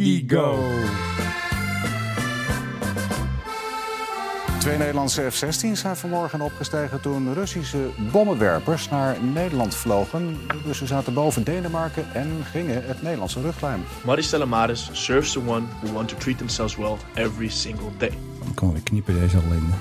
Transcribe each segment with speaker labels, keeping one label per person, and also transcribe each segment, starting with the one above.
Speaker 1: Indigo.
Speaker 2: Twee Nederlandse F-16's zijn vanmorgen opgestegen toen Russische bommenwerpers naar Nederland vlogen. Dus ze zaten boven Denemarken en gingen het Nederlandse luchtruim.
Speaker 3: Maristella Maris serves the one who want to treat themselves well every single day.
Speaker 1: Ik kan weer kniepen deze ellende.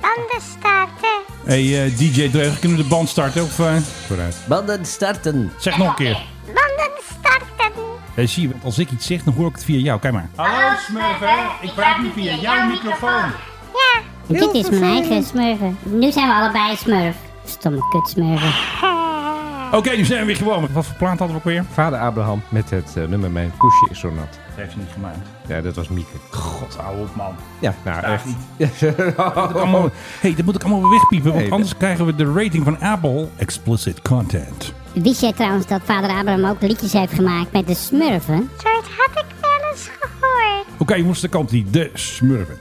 Speaker 4: Banden starten.
Speaker 5: Hey eh, DJ Dreug, kunnen we de band starten? Of, eh,
Speaker 1: Vooruit.
Speaker 6: Banden starten.
Speaker 5: zeg nog een keer.
Speaker 4: Banden starten.
Speaker 5: Eh, zie je, als ik iets zeg, dan hoor ik het via jou. Kijk maar. Hallo Smurfer, ik praat nu via jouw microfoon.
Speaker 4: Ja.
Speaker 7: Dit is mijn eigen smurven. Nu zijn we allebei smurf. Stomme kut smurven.
Speaker 5: Oké, nu zijn we weer gewoon. Wat voor plaat hadden we ook weer?
Speaker 8: Vader Abraham met het eh, nummer Mijn Poesje is zo nat.
Speaker 5: Dat heeft ze niet gemaakt.
Speaker 8: Ja, dat was Mieke.
Speaker 5: God, ouwe op man.
Speaker 8: Ja, nou echt.
Speaker 5: niet. Hé, hey, dat moet ik allemaal weer wegpiepen, want
Speaker 8: Nee,
Speaker 5: anders krijgen we de rating van Apple. Explicit content.
Speaker 7: Wist jij trouwens dat vader Abraham ook liedjes heeft gemaakt met de smurven?
Speaker 4: Zoiets had ik wel eens gehoord.
Speaker 5: Oké, jongens, daar komt die. De smurven.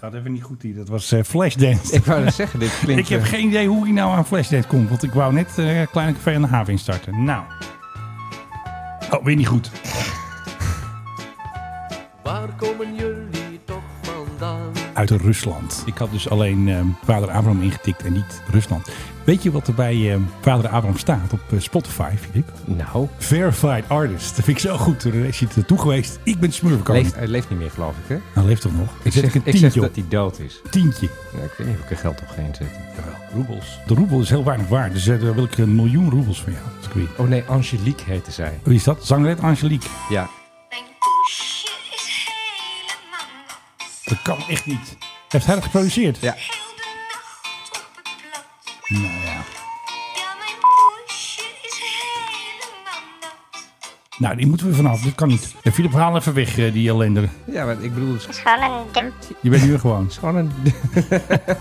Speaker 5: Dat gaat even niet goed hier. Dat was eh, Flashdance.
Speaker 8: Ik wou net zeggen, dit klinkt...
Speaker 5: Ik heb
Speaker 8: eh,
Speaker 5: geen idee hoe hij nou aan Flashdance komt, want ik wou net eh Kleine Café aan de Haven instarten. Nou. Oh, weer niet goed.
Speaker 9: Waar komen jullie toch vandaan?
Speaker 5: Uit Rusland. Ik had dus alleen eh, Vader Abraham ingetikt en niet Rusland. Weet je wat er bij eh, Vader Abraham staat op eh, Spotify, Filip?
Speaker 8: Nou,
Speaker 5: Verified Artist. Dat vind ik zo goed. Toen is hij er toe geweest. Ik ben smurfkoning.
Speaker 8: leeft, hij leeft niet meer geloof ik, hè? Ik
Speaker 5: Nou, leeft toch nog? Ik zet
Speaker 8: zeg,
Speaker 5: een
Speaker 8: ik zeg
Speaker 5: tientje op.
Speaker 8: dat hij dood is.
Speaker 5: Tientje.
Speaker 8: Ja, ik weet niet of ik er geld op ga inzetten.
Speaker 5: Roebels. De roebel is heel weinig waard. Dus eh, daar wil ik een miljoen roebels van jou. als ik weet.
Speaker 8: Oh nee, Angelique heette zij.
Speaker 5: Wie is dat? Zangeres Angelique.
Speaker 8: Ja.
Speaker 4: Mijn poesje is helemaal
Speaker 5: Dat kan echt niet. Heeft hij dat geproduceerd?
Speaker 8: Ja.
Speaker 4: heel de
Speaker 5: Nou
Speaker 4: nacht op het blad.
Speaker 5: ja.
Speaker 4: Ja, mijn poesje is helemaal nat.
Speaker 5: Nou, die moeten we vanaf. Dat kan niet. En Filip, haal even weg, eh, die ellender.
Speaker 8: Ja, maar ik bedoel, het
Speaker 4: Het
Speaker 8: is
Speaker 4: is gewoon een dik.
Speaker 5: Je bent nu er gewoon.
Speaker 8: gewoon een...
Speaker 5: Eh,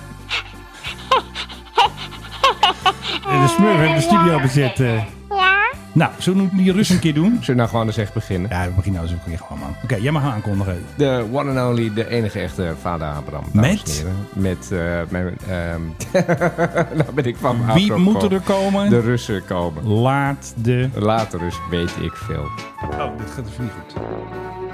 Speaker 5: De smurf heeft de studio bezet. eh.
Speaker 4: Ja?
Speaker 5: Nou, zullen we het die Rus een keer doen?
Speaker 8: Zullen we nou gewoon eens echt beginnen?
Speaker 5: Ja, we beginnen nou eens een keer gewoon, man. Oké, jij mag gaan aankondigen.
Speaker 8: De one and only, de enige echte vader Abraham. dames en
Speaker 5: Met?
Speaker 8: heren. Met, eh, mijn, ehm nou ben ik van
Speaker 5: Wie
Speaker 8: apropos.
Speaker 5: moet er komen?
Speaker 8: De Russen komen.
Speaker 5: Laat de...
Speaker 8: Later dus weet ik veel.
Speaker 5: Oh, dit gaat dus niet goed.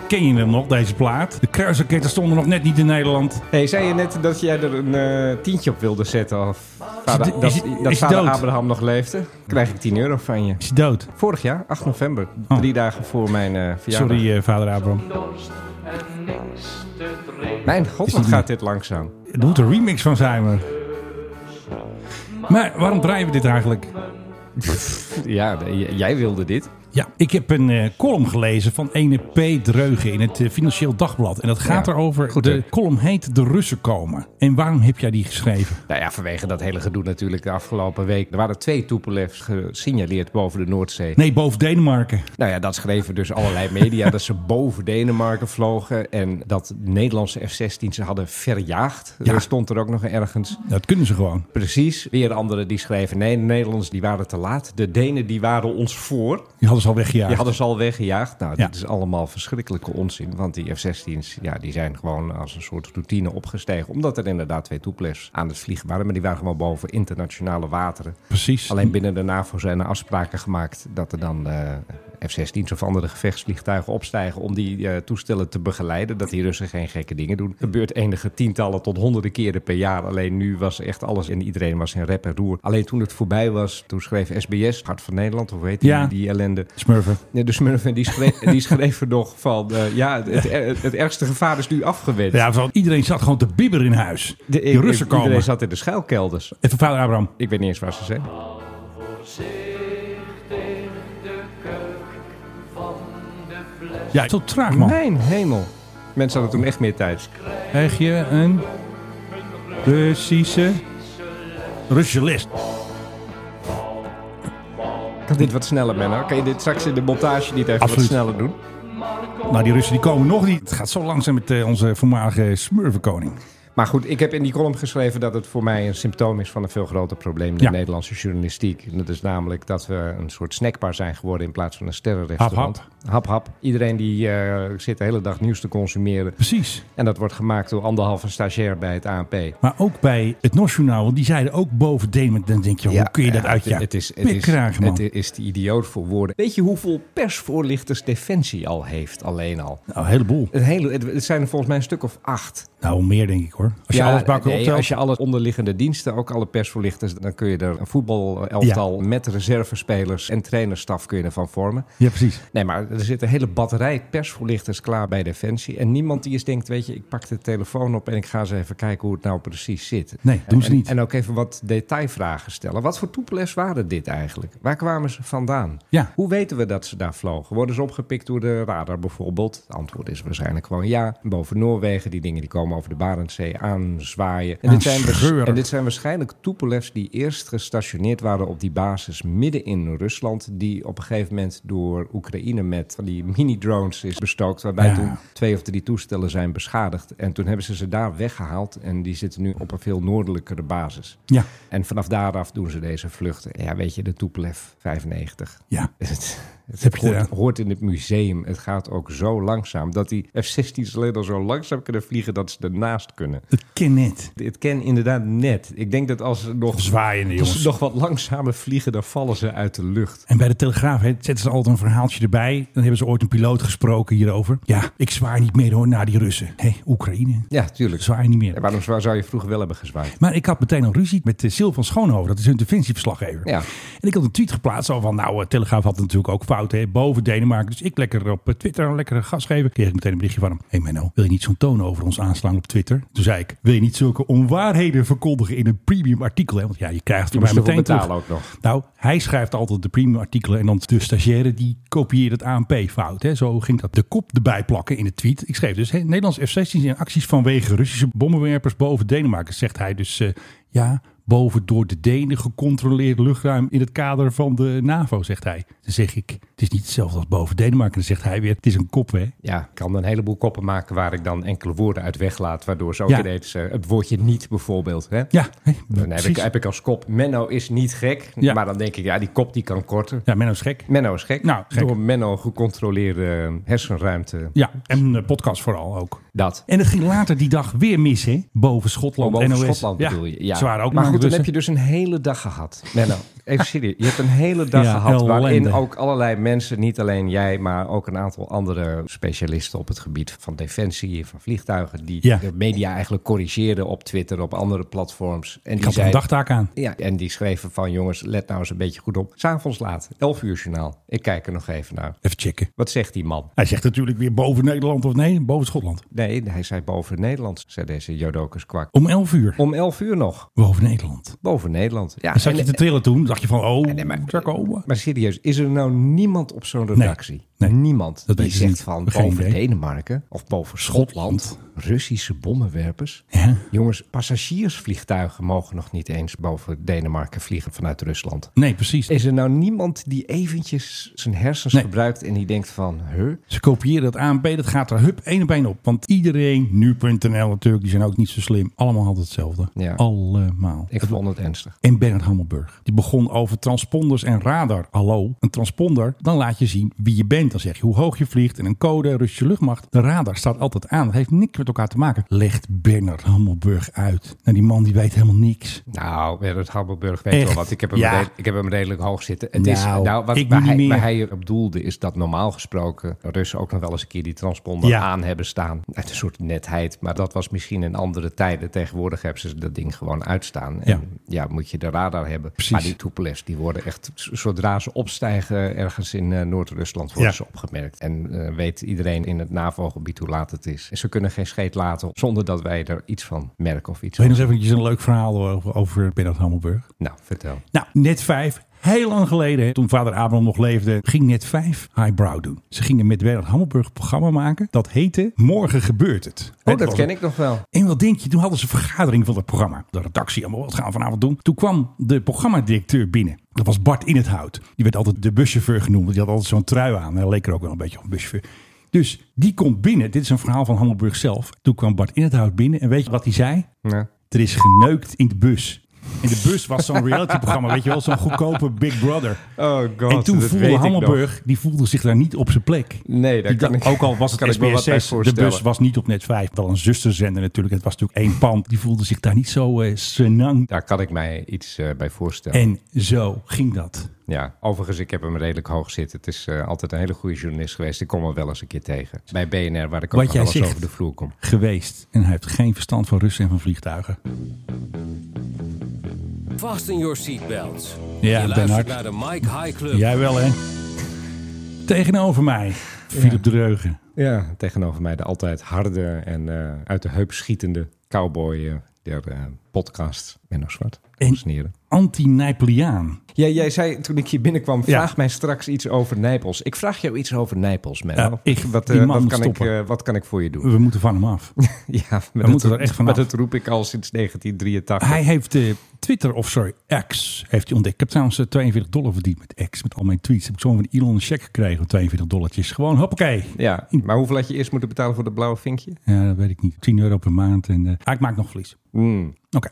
Speaker 5: Ken je hem nog, deze plaat? De kruisraketten stonden nog net niet in Nederland.
Speaker 8: Hey, zei je net dat jij er een eh, tientje op wilde zetten? Of vader,
Speaker 5: Is-
Speaker 8: dat
Speaker 5: is-
Speaker 8: dat
Speaker 5: is
Speaker 8: vader
Speaker 5: dood?
Speaker 8: Abraham nog leefde? Krijg ik 10 euro van je.
Speaker 5: Is hij dood?
Speaker 8: Vorig jaar, 8 november,
Speaker 5: Oh.
Speaker 8: drie dagen voor mijn eh, verjaardag.
Speaker 5: Sorry, eh, vader Abraham.
Speaker 9: Dorst en niks te
Speaker 5: eh,
Speaker 9: drinken.
Speaker 8: Mijn god, wat gaat dit langzaam?
Speaker 5: Er moet een remix van zijn, maar... Maar waarom draaien we dit eigenlijk?
Speaker 8: Ja, de- j- jij wilde dit.
Speaker 5: Ja, ik heb een eh, column gelezen van ene P. Dreugen in het eh, Financieel Dagblad. En dat gaat
Speaker 8: Ja,
Speaker 5: erover,
Speaker 8: goed,
Speaker 5: de
Speaker 8: hè?
Speaker 5: column heet De Russen komen. En waarom heb jij die geschreven?
Speaker 8: Nou ja, vanwege dat hele gedoe natuurlijk de afgelopen week. Er waren twee Tupolevs gesignaleerd boven de Noordzee.
Speaker 5: Nee, boven Denemarken.
Speaker 8: Nou ja, dat schreven dus allerlei media dat ze boven Denemarken vlogen. En dat Nederlandse F-16's hadden verjaagd.
Speaker 5: Ja.
Speaker 8: Er stond er ook nog ergens.
Speaker 5: Dat kunnen ze gewoon.
Speaker 8: Precies. Weer anderen die schreven: nee, de Nederlanders die waren te laat. De Denen die waren ons voor.
Speaker 5: Die hadden ze al
Speaker 8: Die
Speaker 5: weggejaagd.
Speaker 8: hadden ze al weggejaagd. Nou,
Speaker 5: Ja.
Speaker 8: dit is allemaal verschrikkelijke onzin. Want die F-16's ja, die zijn gewoon als een soort routine opgestegen. Omdat er inderdaad twee toeplers aan het vliegen waren. Maar die waren gewoon boven internationale wateren.
Speaker 5: Precies.
Speaker 8: Alleen binnen de NAVO zijn er afspraken gemaakt dat er dan eh, F-16's of andere gevechtsvliegtuigen opstijgen om die eh, toestellen te begeleiden. Dat die Russen geen gekke dingen doen. Gebeurt enige tientallen tot honderden keren per jaar. Alleen nu was echt alles en iedereen was in rep en roer. Alleen toen het voorbij was, toen schreef SBS, Hart van Nederland, of hoe heet die,
Speaker 5: Ja.
Speaker 8: die ellende.
Speaker 5: Smurfen.
Speaker 8: Nee, De Smurfen die schreef, die schreef er nog van, eh, ja, het, het, ergste gevaar is nu afgewend.
Speaker 5: Ja, want iedereen zat gewoon te bibberen in huis. De, die Russen komen.
Speaker 8: Iedereen zat in de schuilkelders.
Speaker 5: Even vader Abraham.
Speaker 8: Ik weet niet eens waar ze zijn.
Speaker 9: Voorzichtig de kurk van de fles.
Speaker 5: Ja, zo traag man.
Speaker 8: Mijn hemel. Mensen hadden toen echt meer tijd.
Speaker 5: Krijg je een Russische... Russische les.
Speaker 8: Kan dit wat sneller, Menno? Kan je dit straks in de montage niet even
Speaker 5: Absoluut.
Speaker 8: wat sneller doen?
Speaker 5: Nou, die Russen die komen nog niet. Het gaat zo langzaam met eh, onze voormalige smurvenkoning.
Speaker 8: Maar goed, ik heb in die column geschreven dat het voor mij een symptoom is van een veel groter probleem in
Speaker 5: Ja.
Speaker 8: de Nederlandse journalistiek. En dat is namelijk dat we een soort snackbar zijn geworden in plaats van een sterrenrestaurant.
Speaker 5: Hap,
Speaker 8: hap. hap. Iedereen die eh, zit de hele dag nieuws te consumeren.
Speaker 5: Precies.
Speaker 8: En dat wordt gemaakt door anderhalve stagiair bij het ANP.
Speaker 5: Maar ook bij het NOS-journaal, want die zeiden ook boven Denemarken. Dan denk je, hoe kun je dat
Speaker 8: ja,
Speaker 5: uit
Speaker 8: het-
Speaker 5: je
Speaker 8: het is, het is,
Speaker 5: pik kragen, man?
Speaker 8: het is de idioot voor woorden. Weet je hoeveel persvoorlichters Defensie al heeft, alleen al?
Speaker 5: Nou, een heleboel.
Speaker 8: Het, hele, het- het zijn er volgens mij een stuk of acht.
Speaker 5: Nou, meer denk ik hoor. Als je alles bij elkaar
Speaker 8: nee,
Speaker 5: optelt.
Speaker 8: Als je alle onderliggende diensten, ook alle persvoorlichters, dan kun je er een voetbalelftal met reservespelers en trainerstaf kun je ervan vormen.
Speaker 5: Ja, precies.
Speaker 8: Nee, maar er zit een hele batterij persvoorlichters klaar bij Defensie. En niemand die eens denkt, weet je, ik pak de telefoon op en ik ga eens even kijken hoe het nou precies zit.
Speaker 5: Nee, doen ze
Speaker 8: En-
Speaker 5: niet.
Speaker 8: En ook even wat detailvragen stellen. Wat voor toepelers waren dit eigenlijk? Waar kwamen ze vandaan?
Speaker 5: Ja.
Speaker 8: Hoe weten we dat ze daar vlogen? Worden ze opgepikt door de radar bijvoorbeeld? Het antwoord is waarschijnlijk gewoon ja. Boven Noorwegen, die dingen die komen over de Barentszee aanzwaaien. En dit, zijn waars-
Speaker 5: Aanscheuren.
Speaker 8: en dit zijn waarschijnlijk toepelers die eerst gestationeerd waren op die basis midden in Rusland. Die op een gegeven moment door Oekraïne met van die mini-drones is bestookt. Waarbij
Speaker 5: Ja.
Speaker 8: toen twee of drie toestellen zijn beschadigd. En toen hebben ze ze daar weggehaald. En die zitten nu op een veel noordelijkere basis.
Speaker 5: Ja,
Speaker 8: En vanaf daaraf doen ze deze vluchten. Ja, weet je, de Tupolev 95.
Speaker 5: ja.
Speaker 8: Het, het
Speaker 5: heb je
Speaker 8: hoort,
Speaker 5: eraan.
Speaker 8: hoort in het museum. Het gaat ook zo langzaam. Dat die F-16's alleen al zo langzaam kunnen vliegen dat ze ernaast kunnen.
Speaker 5: Het ken net.
Speaker 8: Het ken inderdaad net. Ik denk dat als ze nog,
Speaker 5: Zwaaiende
Speaker 8: als
Speaker 5: jongens.
Speaker 8: ze nog wat langzamer vliegen, dan vallen ze uit de lucht.
Speaker 5: En bij de Telegraaf he, zetten ze altijd een verhaaltje erbij. Dan hebben ze ooit een piloot gesproken hierover. Ja, ik zwaai niet meer hoor naar die Russen. Hé, Oekraïne.
Speaker 8: Ja, tuurlijk.
Speaker 5: Zwaai niet meer.
Speaker 8: Ja, waarom zou zou je vroeger wel hebben gezwaaid?
Speaker 5: Maar ik had meteen een ruzie met eh, Sil van Schoonhoven. Dat is hun defensieverslaggever.
Speaker 8: Ja.
Speaker 5: En ik had een tweet geplaatst al van... Nou, eh, Telegraaf had het natuurlijk ook fout hè, boven Denemarken. Dus ik lekker op eh, Twitter een lekkere gas geven. Kreeg ik meteen een berichtje van hem. Hé hey Menno, wil je niet zo'n toon over ons aanslaan op Twitter? Toen zei ik, wil je niet zulke onwaarheden verkondigen in een premium artikel? Hè? Want ja, je krijgt
Speaker 8: Je
Speaker 5: er
Speaker 8: moest
Speaker 5: maar
Speaker 8: ervoor
Speaker 5: meteen terug.
Speaker 8: betalen ook nog.
Speaker 5: Nou, hij schrijft altijd de premium artikelen en dan de stagiaire die kopieert het ANP-fout. hè. Zo ging dat. De kop erbij plakken in de tweet. Ik schreef dus, hè, Nederlands F-16 in acties vanwege Russische bommenwerpers boven Denemarken. Zegt hij dus, eh, ja, boven door de Denen gecontroleerd luchtruim in het kader van de NAVO, zegt hij. Dan zeg ik, het is niet hetzelfde als boven Denemarken. Dan zegt hij weer, het is een kop, hè.
Speaker 8: Ja, ik kan een heleboel koppen maken waar ik dan enkele woorden uit weglaat. Waardoor zo
Speaker 5: Ja.
Speaker 8: ineens eh, het woordje niet bijvoorbeeld. Hè?
Speaker 5: Ja, hè,
Speaker 8: Dan heb ik,
Speaker 5: precies.
Speaker 8: heb ik als kop, Menno is niet gek.
Speaker 5: Ja.
Speaker 8: Maar dan denk ik, ja, die kop die kan korter.
Speaker 5: Ja, Menno is gek.
Speaker 8: Menno is gek.
Speaker 5: Nou, gek.
Speaker 8: Door Menno gecontroleerde eh, hersenruimte.
Speaker 5: Ja, en eh, podcast vooral ook.
Speaker 8: Dat.
Speaker 5: En het ging later die dag weer mis, hè? Boven Schotland.
Speaker 8: Oh, Boven
Speaker 5: NOS.
Speaker 8: Schotland bedoel je. Ja.
Speaker 5: Ze waren ook
Speaker 8: maar
Speaker 5: maar
Speaker 8: goed, dan heb je dus een hele dag gehad. Menno, even serieus. Je hebt een hele dag
Speaker 5: Ja,
Speaker 8: gehad waarin
Speaker 5: ellende.
Speaker 8: ook allerlei mensen, niet alleen jij, maar ook een aantal andere specialisten op het gebied van defensie, van vliegtuigen, die
Speaker 5: Ja.
Speaker 8: de media eigenlijk corrigeerden op Twitter, op andere platforms. En
Speaker 5: Ik
Speaker 8: die
Speaker 5: had er een
Speaker 8: zeiden,
Speaker 5: dagtaak aan.
Speaker 8: Ja, en die schreven van jongens, let nou eens een beetje goed op. S'avonds laat, 11 uur journaal. Ik kijk er nog even naar.
Speaker 5: Even checken.
Speaker 8: Wat zegt die man?
Speaker 5: Hij zegt natuurlijk weer boven Nederland of nee, boven Schotland.
Speaker 8: Nee, hij zei boven Nederland, zei deze Jodokus kwak.
Speaker 5: Om 11 uur.
Speaker 8: Om 11 uur nog,
Speaker 5: Boven Nederland.
Speaker 8: boven Nederland. Ja,
Speaker 5: En zat
Speaker 8: en-
Speaker 5: je te trillen toen? Dacht je van, oh,
Speaker 8: nee, maar-
Speaker 5: daar komen.
Speaker 8: maar serieus, is er nou niemand op zo'n redactie?
Speaker 5: nee.
Speaker 8: niemand
Speaker 5: Dat
Speaker 8: die
Speaker 5: weten ze
Speaker 8: zegt
Speaker 5: niet.
Speaker 8: van
Speaker 5: Geen
Speaker 8: boven
Speaker 5: idee.
Speaker 8: Denemarken of boven Schotland, Russische bommenwerpers.
Speaker 5: Ja.
Speaker 8: Jongens, passagiersvliegtuigen mogen nog niet eens boven Denemarken vliegen vanuit Rusland.
Speaker 5: Nee, precies.
Speaker 8: Is er nou niemand die eventjes zijn hersens
Speaker 5: Nee.
Speaker 8: gebruikt en die denkt van, huh?
Speaker 5: Ze kopiëren dat ANP, dat gaat er hup één op één op. Want iedereen, nu.nl natuurlijk, die zijn ook niet zo slim. Allemaal hadden hetzelfde.
Speaker 8: Ja.
Speaker 5: Allemaal.
Speaker 8: Ik vond het ernstig.
Speaker 5: En Bernard Hammelburg. Die begon over transponders en radar. Hallo, een transponder, dan laat je zien wie je bent. Dan zeg je hoe hoog je vliegt en een code, Russische luchtmacht. De radar staat altijd aan. Dat heeft niks met elkaar te maken. Legt Bernard Hammelburg uit. Nou, die man die weet helemaal niks.
Speaker 8: Nou, Bernard Hammelburg weet
Speaker 5: Echt?
Speaker 8: wel wat. Ik heb, hem
Speaker 5: Ja.
Speaker 8: redelijk, ik heb hem redelijk hoog zitten. Het is,
Speaker 5: Nou,
Speaker 8: nou, wat,
Speaker 5: ik
Speaker 8: waar,
Speaker 5: nu niet
Speaker 8: hij, waar
Speaker 5: meer.
Speaker 8: hij op doelde is dat normaal gesproken Russen ook nog wel eens een keer die transponder
Speaker 5: Ja.
Speaker 8: aan hebben staan. Uit een soort netheid. Maar dat was misschien in andere tijden. Tegenwoordig hebben ze dat ding gewoon uitstaan. En ja, moet je de radar hebben.
Speaker 5: Precies.
Speaker 8: Maar die toepelers die worden echt, z- zodra ze opstijgen ergens in eh, Noord-Rusland, worden
Speaker 5: Ja.
Speaker 8: ze opgemerkt. En eh, weet iedereen in het NAVO-gebied hoe laat het is. En ze kunnen geen scheet laten zonder dat wij er iets van merken of iets
Speaker 5: Ik weet
Speaker 8: van.
Speaker 5: nog eventjes een leuk verhaal over, over Bernard Hammelburg.
Speaker 8: Nou, vertel.
Speaker 5: Nou, net vijf. Heel lang geleden, toen vader Abraham nog leefde, ging net vijf Highbrow doen. Ze gingen met Bernard Hammelburg een programma maken. Dat heette Morgen gebeurt het.
Speaker 8: Oh, dat ken ik nog wel.
Speaker 5: En wat denk je, toen hadden ze een vergadering van het programma. De redactie, allemaal wat gaan we vanavond doen. Toen kwam de programmadirecteur binnen. Dat was Bart In het Hout. Die werd altijd de buschauffeur genoemd. want Die had altijd zo'n trui aan. Hij leek er ook wel een beetje op een buschauffeur. Dus die komt binnen. Dit is een verhaal van Hammelburg zelf. Toen kwam Bart Inhoud binnen en weet je wat hij zei?
Speaker 8: Ja.
Speaker 5: Er is geneukt in de bus. In de bus was zo'n realityprogramma, weet je wel, zo'n goedkope Big Brother.
Speaker 8: Oh god,
Speaker 5: en toen
Speaker 8: dat
Speaker 5: voelde
Speaker 8: weet ik
Speaker 5: Hammelburg, die voelde zich daar niet op zijn plek.
Speaker 8: Nee, daar
Speaker 5: Die
Speaker 8: kan
Speaker 5: dacht-
Speaker 8: ik-
Speaker 5: ook al was
Speaker 8: kan
Speaker 5: het
Speaker 8: ik me wat bij
Speaker 5: SBS 6, de
Speaker 8: voorstellen.
Speaker 5: bus was niet op net 5. Wel een zusterzender natuurlijk, het was natuurlijk één pand. Die voelde zich daar niet zo eh senang.
Speaker 8: Daar kan ik mij iets eh, bij voorstellen.
Speaker 5: En zo ging dat.
Speaker 8: Ja, overigens, ik heb hem redelijk hoog zitten. Het is eh, altijd een hele goede journalist geweest. Ik kom hem wel eens een keer tegen. Bij BNR, waar ik ook
Speaker 5: Wat
Speaker 8: nog
Speaker 5: jij
Speaker 8: wel eens
Speaker 5: zegt.
Speaker 8: over de vloer kom.
Speaker 5: Geweest. En hij heeft geen verstand van Russen en van vliegtuigen.
Speaker 6: Fasten your seatbelts.
Speaker 5: Ja,
Speaker 6: je
Speaker 5: Bernhard.
Speaker 6: luistert naar de Mike High Club.
Speaker 5: Jij wel, hè? Tegenover mij, Philip de Dreugen.
Speaker 8: Ja, tegenover mij de altijd harde en eh, uit de heup schietende cowboy eh, der eh, podcast Menno Zwart.
Speaker 5: En-
Speaker 8: Sneren.
Speaker 5: Anti-Nijpeliaan.
Speaker 8: Ja, jij zei toen ik hier binnenkwam, vraag
Speaker 5: Ja.
Speaker 8: mij straks iets over Nijpels. Ik vraag jou iets over Nijpels, Menno.
Speaker 5: Ja, ik-
Speaker 8: wat,
Speaker 5: die
Speaker 8: eh,
Speaker 5: man
Speaker 8: wat,
Speaker 5: moet
Speaker 8: kan ik,
Speaker 5: stoppen.
Speaker 8: eh, wat kan ik voor je doen?
Speaker 5: We moeten van hem af.
Speaker 8: Ja, maar
Speaker 5: We moeten er echt vanaf.
Speaker 8: maar dat roep ik al sinds 1983.
Speaker 5: Hij heeft eh, Twitter, of sorry, X, heeft hij ontdekt. Ik heb trouwens eh, 42 dollar verdiend met X, met al mijn tweets. Heb ik zo van Elon een check gekregen van 42 dollartjes. Gewoon, hoppakee.
Speaker 8: Ja, maar hoeveel had je eerst moeten betalen voor dat blauwe vinkje?
Speaker 5: Ja, dat weet ik niet. 10 euro per maand. En, eh, ah, ik maak nog verlies.
Speaker 8: Hmm.
Speaker 5: Oké.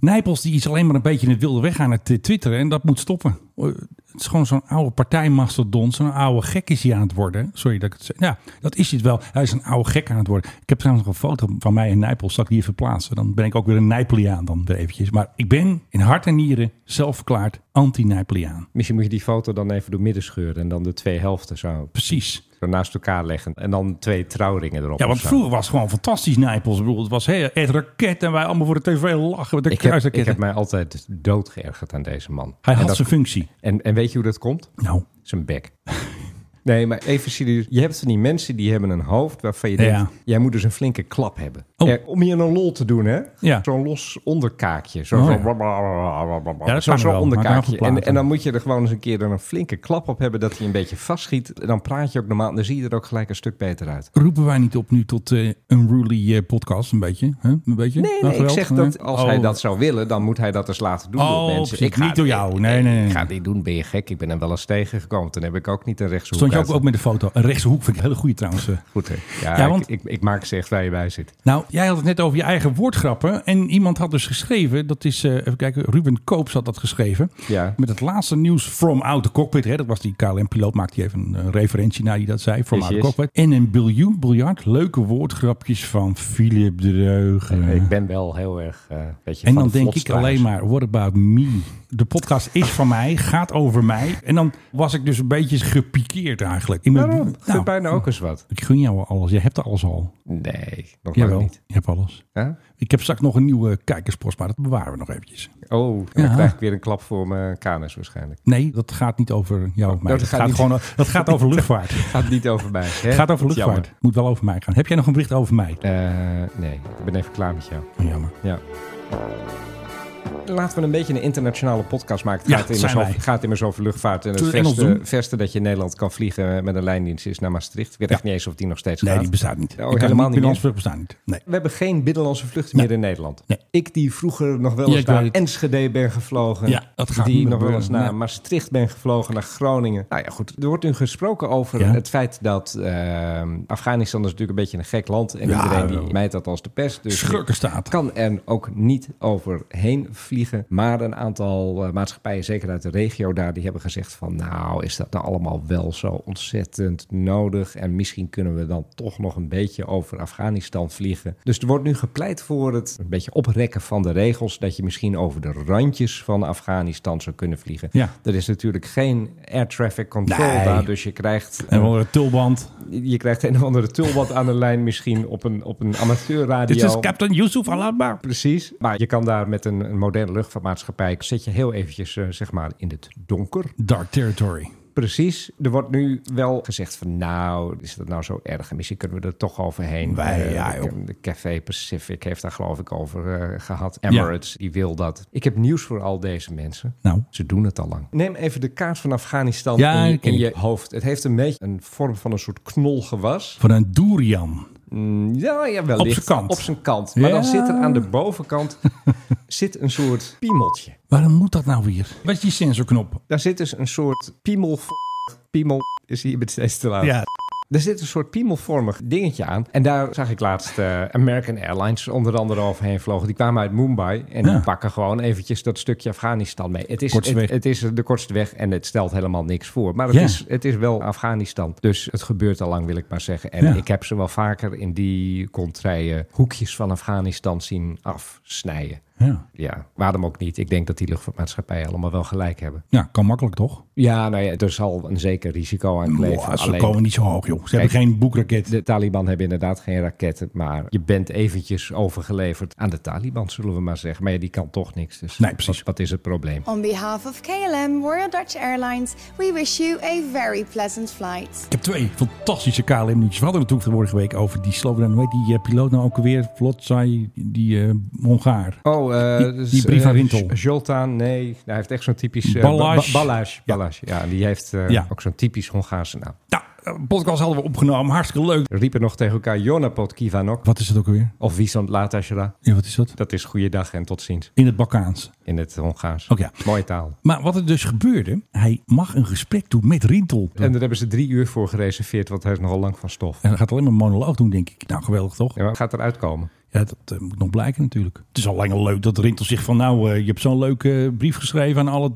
Speaker 5: Nijpels die is alleen maar een beetje in het wilde weg aan het eh, twitteren. En dat moet stoppen. Eh, Het is gewoon zo'n oude partijmastodon. Zo'n oude gek is hij aan het worden. Sorry dat ik het zeg. Ja, dat is het wel. Hij is een oude gek aan het worden. Ik heb trouwens nog een foto van mij in Nijpels. Zal ik die even plaatsen? Dan ben ik ook weer een Nijpeliaan dan weer eventjes. Maar ik ben in hart en nieren zelfverklaard anti-Nijpeliaan.
Speaker 8: Misschien moet je die foto dan even door midden scheuren en dan de twee helften zo,
Speaker 5: Precies.
Speaker 8: zo naast elkaar leggen. En dan twee trouwringen erop.
Speaker 5: Ja,
Speaker 8: of
Speaker 5: want
Speaker 8: zo.
Speaker 5: vroeger was het gewoon fantastisch Nijpels. Ik bedoel, het was heel, het raket en wij allemaal voor de tv lachen met de
Speaker 8: Ik heb, ik
Speaker 5: kruisraketten.
Speaker 8: heb mij altijd dood geërgerd aan deze man.
Speaker 5: Hij
Speaker 8: en,
Speaker 5: had
Speaker 8: dat-
Speaker 5: zijn functie.
Speaker 8: en, en weet je hoe dat komt?
Speaker 5: Nou,
Speaker 8: Zijn bek. Nee, maar even serieus. Je hebt van die mensen die hebben een hoofd waarvan je denkt...
Speaker 5: Ja.
Speaker 8: jij moet dus een flinke klap hebben.
Speaker 5: Oh.
Speaker 8: Ja, om hier een lol te doen, hè?
Speaker 5: Ja.
Speaker 8: Zo'n los onderkaakje. Zo,
Speaker 5: Oh,
Speaker 8: zo-
Speaker 5: ja. Ja,
Speaker 8: Zo'n
Speaker 5: dat kan
Speaker 8: zo'n
Speaker 5: wel. Maak daarvoor
Speaker 8: onderkaakje.
Speaker 5: platen.
Speaker 8: En, en dan moet je er gewoon eens een keer dan een flinke klap op hebben... dat hij een beetje vastschiet. En dan praat je ook normaal en dan zie je er ook gelijk een stuk beter uit.
Speaker 5: roepen wij niet op nu tot een unruly eh, podcast een beetje? hè? Een beetje?
Speaker 8: Nee,
Speaker 5: Nou,
Speaker 8: nee ik
Speaker 5: geweld?
Speaker 8: zeg dat
Speaker 5: Nee.
Speaker 8: als
Speaker 5: Oh,
Speaker 8: hij dat zou willen, dan moet hij dat eens laten doen
Speaker 5: Oh,
Speaker 8: door mensen.
Speaker 5: precies. Niet door jou. Nee, nee, nee.
Speaker 8: Ik ga het niet doen, ben je gek? Ik ben hem wel eens tegengekomen. Toen heb ik ook niet een rechtshoek
Speaker 5: Stond je ook,
Speaker 8: uit.
Speaker 5: ook met de foto? Een rechtse hoek vind ik een hele goede trouwens. eh.
Speaker 8: Goed, hè? Ja,
Speaker 5: Ja,
Speaker 8: ik-
Speaker 5: want-
Speaker 8: ik, ik, maak ze echt waar je bij zit.
Speaker 5: Nou, jij had het net over je eigen woordgrappen. En iemand had dus geschreven, dat is, eh, even kijken, Ruben Koops had dat geschreven.
Speaker 8: Ja.
Speaker 5: Met het laatste nieuws from out the cockpit. Hè, dat was die KLM-piloot, maakte hij even een eh, referentie naar die dat zei. From
Speaker 8: Yes,
Speaker 5: out the
Speaker 8: yes.
Speaker 5: cockpit. En een biljoen, biljart, leuke woordgrapjes van Philip de Reugen.
Speaker 8: Ik ben wel heel erg, eh weet je,
Speaker 5: En
Speaker 8: van
Speaker 5: dan
Speaker 8: de
Speaker 5: denk ik
Speaker 8: vlotstraars.
Speaker 5: alleen maar, what about me? De podcast is van mij, gaat over mij. En dan was ik dus een beetje gepikeerd eigenlijk. In mijn,
Speaker 8: Waarom? Geef
Speaker 5: Nou,
Speaker 8: bijna ook eens wat.
Speaker 5: ik gun jou alles. Je hebt alles al.
Speaker 8: Nee, nog lang
Speaker 5: Jawel,
Speaker 8: niet.
Speaker 5: je hebt alles.
Speaker 8: Huh?
Speaker 5: Ik heb straks nog een nieuwe kijkerspost, maar dat bewaren we nog eventjes.
Speaker 8: Oh, dan
Speaker 5: Ja.
Speaker 8: krijg ik weer een klap voor mijn kanus waarschijnlijk.
Speaker 5: Nee, dat gaat niet over jou of mij.
Speaker 8: dat
Speaker 5: Dat
Speaker 8: gaat
Speaker 5: gaat,
Speaker 8: niet-
Speaker 5: gewoon, dat gaat over luchtvaart. Het
Speaker 8: Gaat niet over mij. hè?
Speaker 5: gaat over luchtvaart.
Speaker 8: Jammer.
Speaker 5: Moet wel over mij gaan. Heb jij nog een bericht over mij? Oh,
Speaker 8: Eh, nee, ik ben even klaar met jou.
Speaker 5: Jammer.
Speaker 8: Ja. Laten we een beetje een internationale podcast maken. Het
Speaker 5: Ja,
Speaker 8: gaat,
Speaker 5: dat
Speaker 8: immers
Speaker 5: zijn
Speaker 8: over,
Speaker 5: wij.
Speaker 8: gaat immers over luchtvaart. En het
Speaker 5: Zullen we Engels
Speaker 8: verste,
Speaker 5: doen?
Speaker 8: verste dat je in Nederland kan vliegen met een lijndienst is naar Maastricht. Ik weet echt niet eens of die nog steeds
Speaker 5: Nee,
Speaker 8: gaat.
Speaker 5: die bestaat niet.
Speaker 8: Oh, helemaal niet meer.
Speaker 5: Binnenlands vlucht bestaat niet. Nee.
Speaker 8: We hebben geen binnenlandse vluchten meer in Nederland.
Speaker 5: Nee.
Speaker 8: Ik die vroeger nog wel
Speaker 5: Ja,
Speaker 8: eens
Speaker 5: ik
Speaker 8: naar
Speaker 5: weet het.
Speaker 8: Enschede ben gevlogen.
Speaker 5: Ja, dat gaat niet
Speaker 8: die
Speaker 5: meer
Speaker 8: nog wel eens
Speaker 5: gebeuren.
Speaker 8: naar
Speaker 5: Nee.
Speaker 8: Maastricht ben gevlogen, naar Groningen. Nou ja, goed. Er wordt nu gesproken over
Speaker 5: Ja.
Speaker 8: het feit dat ehm, Afghanistan is natuurlijk een beetje een gek land. En
Speaker 5: Ja,
Speaker 8: iedereen
Speaker 5: wel.
Speaker 8: die mijt dat als de pest. Dus
Speaker 5: Schurkenstaat.
Speaker 8: kan er ook niet overheen vliegen. Maar een aantal eh, maatschappijen, zeker uit de regio daar, die hebben gezegd van... nou, is dat nou allemaal wel zo ontzettend nodig? En misschien kunnen we dan toch nog een beetje over Afghanistan vliegen. Dus er wordt nu gepleit voor het een beetje oprekken van de regels... dat je misschien over de randjes van Afghanistan zou kunnen vliegen.
Speaker 5: Ja.
Speaker 8: Er is natuurlijk geen air traffic control
Speaker 5: Nee.
Speaker 8: daar, dus je krijgt...
Speaker 5: En wel een tulband.
Speaker 8: Je krijgt een of andere tulband aan de lijn misschien op een, op een amateurradio.
Speaker 5: Dit is Captain Yusuf Alaba.
Speaker 8: Precies. Maar je kan daar met een, een moderne luchtvaartmaatschappij... zit je heel eventjes eh, zeg maar in het donker.
Speaker 5: Dark Territory.
Speaker 8: Precies. Er wordt nu wel gezegd van... nou, is dat nou zo erg? En misschien kunnen we er toch overheen.
Speaker 5: Wij,
Speaker 8: Eh,
Speaker 5: ja, joh.
Speaker 8: de, de Café Pacific heeft daar geloof ik over eh, gehad. Emirates, die wil dat. Ik heb nieuws voor al deze mensen.
Speaker 5: Nou.
Speaker 8: Ze doen het al lang. Neem even de kaart van Afghanistan
Speaker 5: Ja,
Speaker 8: in,
Speaker 5: die ken
Speaker 8: in
Speaker 5: ik.
Speaker 8: je hoofd. Het heeft een beetje een vorm van een soort knolgewas.
Speaker 5: Van een Durian.
Speaker 8: Mm, Ja, ja wellicht.
Speaker 5: zijn kant.
Speaker 8: Op zijn kant. Maar
Speaker 5: Ja.
Speaker 8: dan zit er aan de bovenkant zit een soort piemeltje.
Speaker 5: Waarom moet dat nou weer? Wat is die sensorknop?
Speaker 8: Daar zit dus een soort piemel... Piemel is hier met steeds te laat.
Speaker 5: Ja.
Speaker 8: Er zit een soort piemelvormig dingetje aan. En daar zag ik laatst eh, American Airlines onder andere overheen vlogen. Die kwamen uit Mumbai en
Speaker 5: Ja.
Speaker 8: die pakken gewoon eventjes dat stukje Afghanistan mee. Het is,
Speaker 5: Kortste
Speaker 8: het,
Speaker 5: weg.
Speaker 8: het is de kortste weg en het stelt helemaal niks voor. Maar het,
Speaker 5: Ja.
Speaker 8: is, het is wel Afghanistan. Dus het gebeurt al lang, wil ik maar zeggen. En
Speaker 5: Ja.
Speaker 8: ik heb ze wel vaker in die contraien hoekjes van Afghanistan zien afsnijden.
Speaker 5: Ja.
Speaker 8: Ja, waarom ook niet? Ik denk dat die luchtvaartmaatschappijen allemaal wel gelijk hebben.
Speaker 5: ja, kan makkelijk toch?
Speaker 8: Ja, nou ja, er zal een zeker risico aan kleven.
Speaker 5: Boah, ze
Speaker 8: Alleen-
Speaker 5: komen niet zo hoog, joh. Ze hebben geen boekraket.
Speaker 8: de Taliban hebben inderdaad geen raketten, maar je bent eventjes overgeleverd aan de Taliban, zullen we maar zeggen. Maar ja, die kan toch niks. Dus
Speaker 5: Nee, precies.
Speaker 8: Wat, wat is het probleem?
Speaker 10: Oh.
Speaker 11: On behalf of KLM Royal Dutch Airlines, we wish you a very pleasant flight.
Speaker 5: Ik heb twee fantastische KLM-nieuwtjes. We hadden het natuurlijk de vorige week over die Slovenian. Hoe heet die eh, piloot nou ook alweer? Vlotsai, die eh, Hongaar.
Speaker 8: Oh, eh,
Speaker 5: Die- die
Speaker 8: dus,
Speaker 5: brief
Speaker 8: eh,
Speaker 5: aan Rintel.
Speaker 8: J- Joltaan, nee, hij heeft echt zo'n typisch... eh,
Speaker 5: Balázs.
Speaker 8: Ba- Balázs,
Speaker 5: Ja.
Speaker 8: Balázs, ja. die heeft eh,
Speaker 5: Ja.
Speaker 8: ook zo'n typisch Hongaarse naam.
Speaker 5: Nou, eh, podcast hadden we opgenomen. Hartstikke leuk.
Speaker 8: Riepen nog tegen elkaar Jonapot Kivanok
Speaker 5: Wat is het ook alweer?
Speaker 8: of Visant Latashra.
Speaker 5: Ja, wat is dat?
Speaker 8: Dat is goeiedag en tot ziens
Speaker 5: In het Balkaans.
Speaker 8: in het Hongaars.
Speaker 5: Ook ja.
Speaker 8: Mooie taal.
Speaker 5: Maar wat er dus gebeurde, hij mag een gesprek doen met Rintel.
Speaker 8: En daar hebben ze drie uur voor gereserveerd, want hij is nogal lang van stof.
Speaker 5: En hij gaat alleen maar monoloog doen, denk ik. Nou, geweldig toch?
Speaker 8: Ja, maar gaat eruit komen?
Speaker 5: Ja, dat eh, moet nog blijken natuurlijk. Het is al lang al leuk dat Rintel zegt van... nou, eh, je hebt zo'n leuke eh, brief geschreven aan alle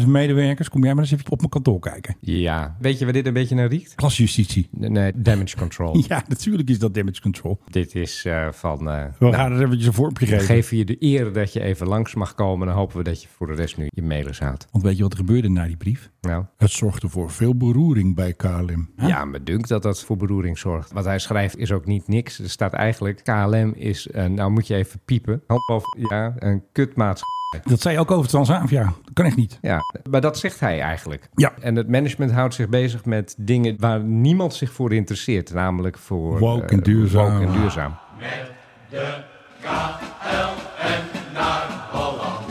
Speaker 5: 30.000 medewerkers. Kom jij maar eens even op mijn kantoor kijken.
Speaker 8: Ja. Weet je waar dit een beetje naar riekt?
Speaker 5: Klasjustitie.
Speaker 8: Nee, damage control.
Speaker 5: Ja, natuurlijk is dat damage control.
Speaker 8: Dit is eh, van. eh,
Speaker 5: We
Speaker 8: nou,
Speaker 5: gaan er eventjes een vormpje
Speaker 8: we
Speaker 5: geven.
Speaker 8: geven je de eer dat je even langs mag komen. Dan hopen we dat je voor de rest nu je mailers houdt.
Speaker 5: Want weet je wat er gebeurde na die brief?
Speaker 8: Nou,
Speaker 1: Het zorgde voor veel beroering bij KLM.
Speaker 8: ja, me dunkt dat dat voor beroering zorgt. Wat hij schrijft is ook niet niks. Er staat eigenlijk: KLM is. een- nou, moet je even piepen. Hand boven- Ja, een kutmaats.
Speaker 5: Dat zei je ook over Transavia. Dat kan echt niet.
Speaker 8: Ja, maar dat zegt hij eigenlijk.
Speaker 5: Ja.
Speaker 8: En het management houdt zich bezig met dingen waar niemand zich voor interesseert. Namelijk voor...
Speaker 5: Woke
Speaker 8: eh,
Speaker 5: en duurzaam. Ah.
Speaker 8: woke en duurzaam.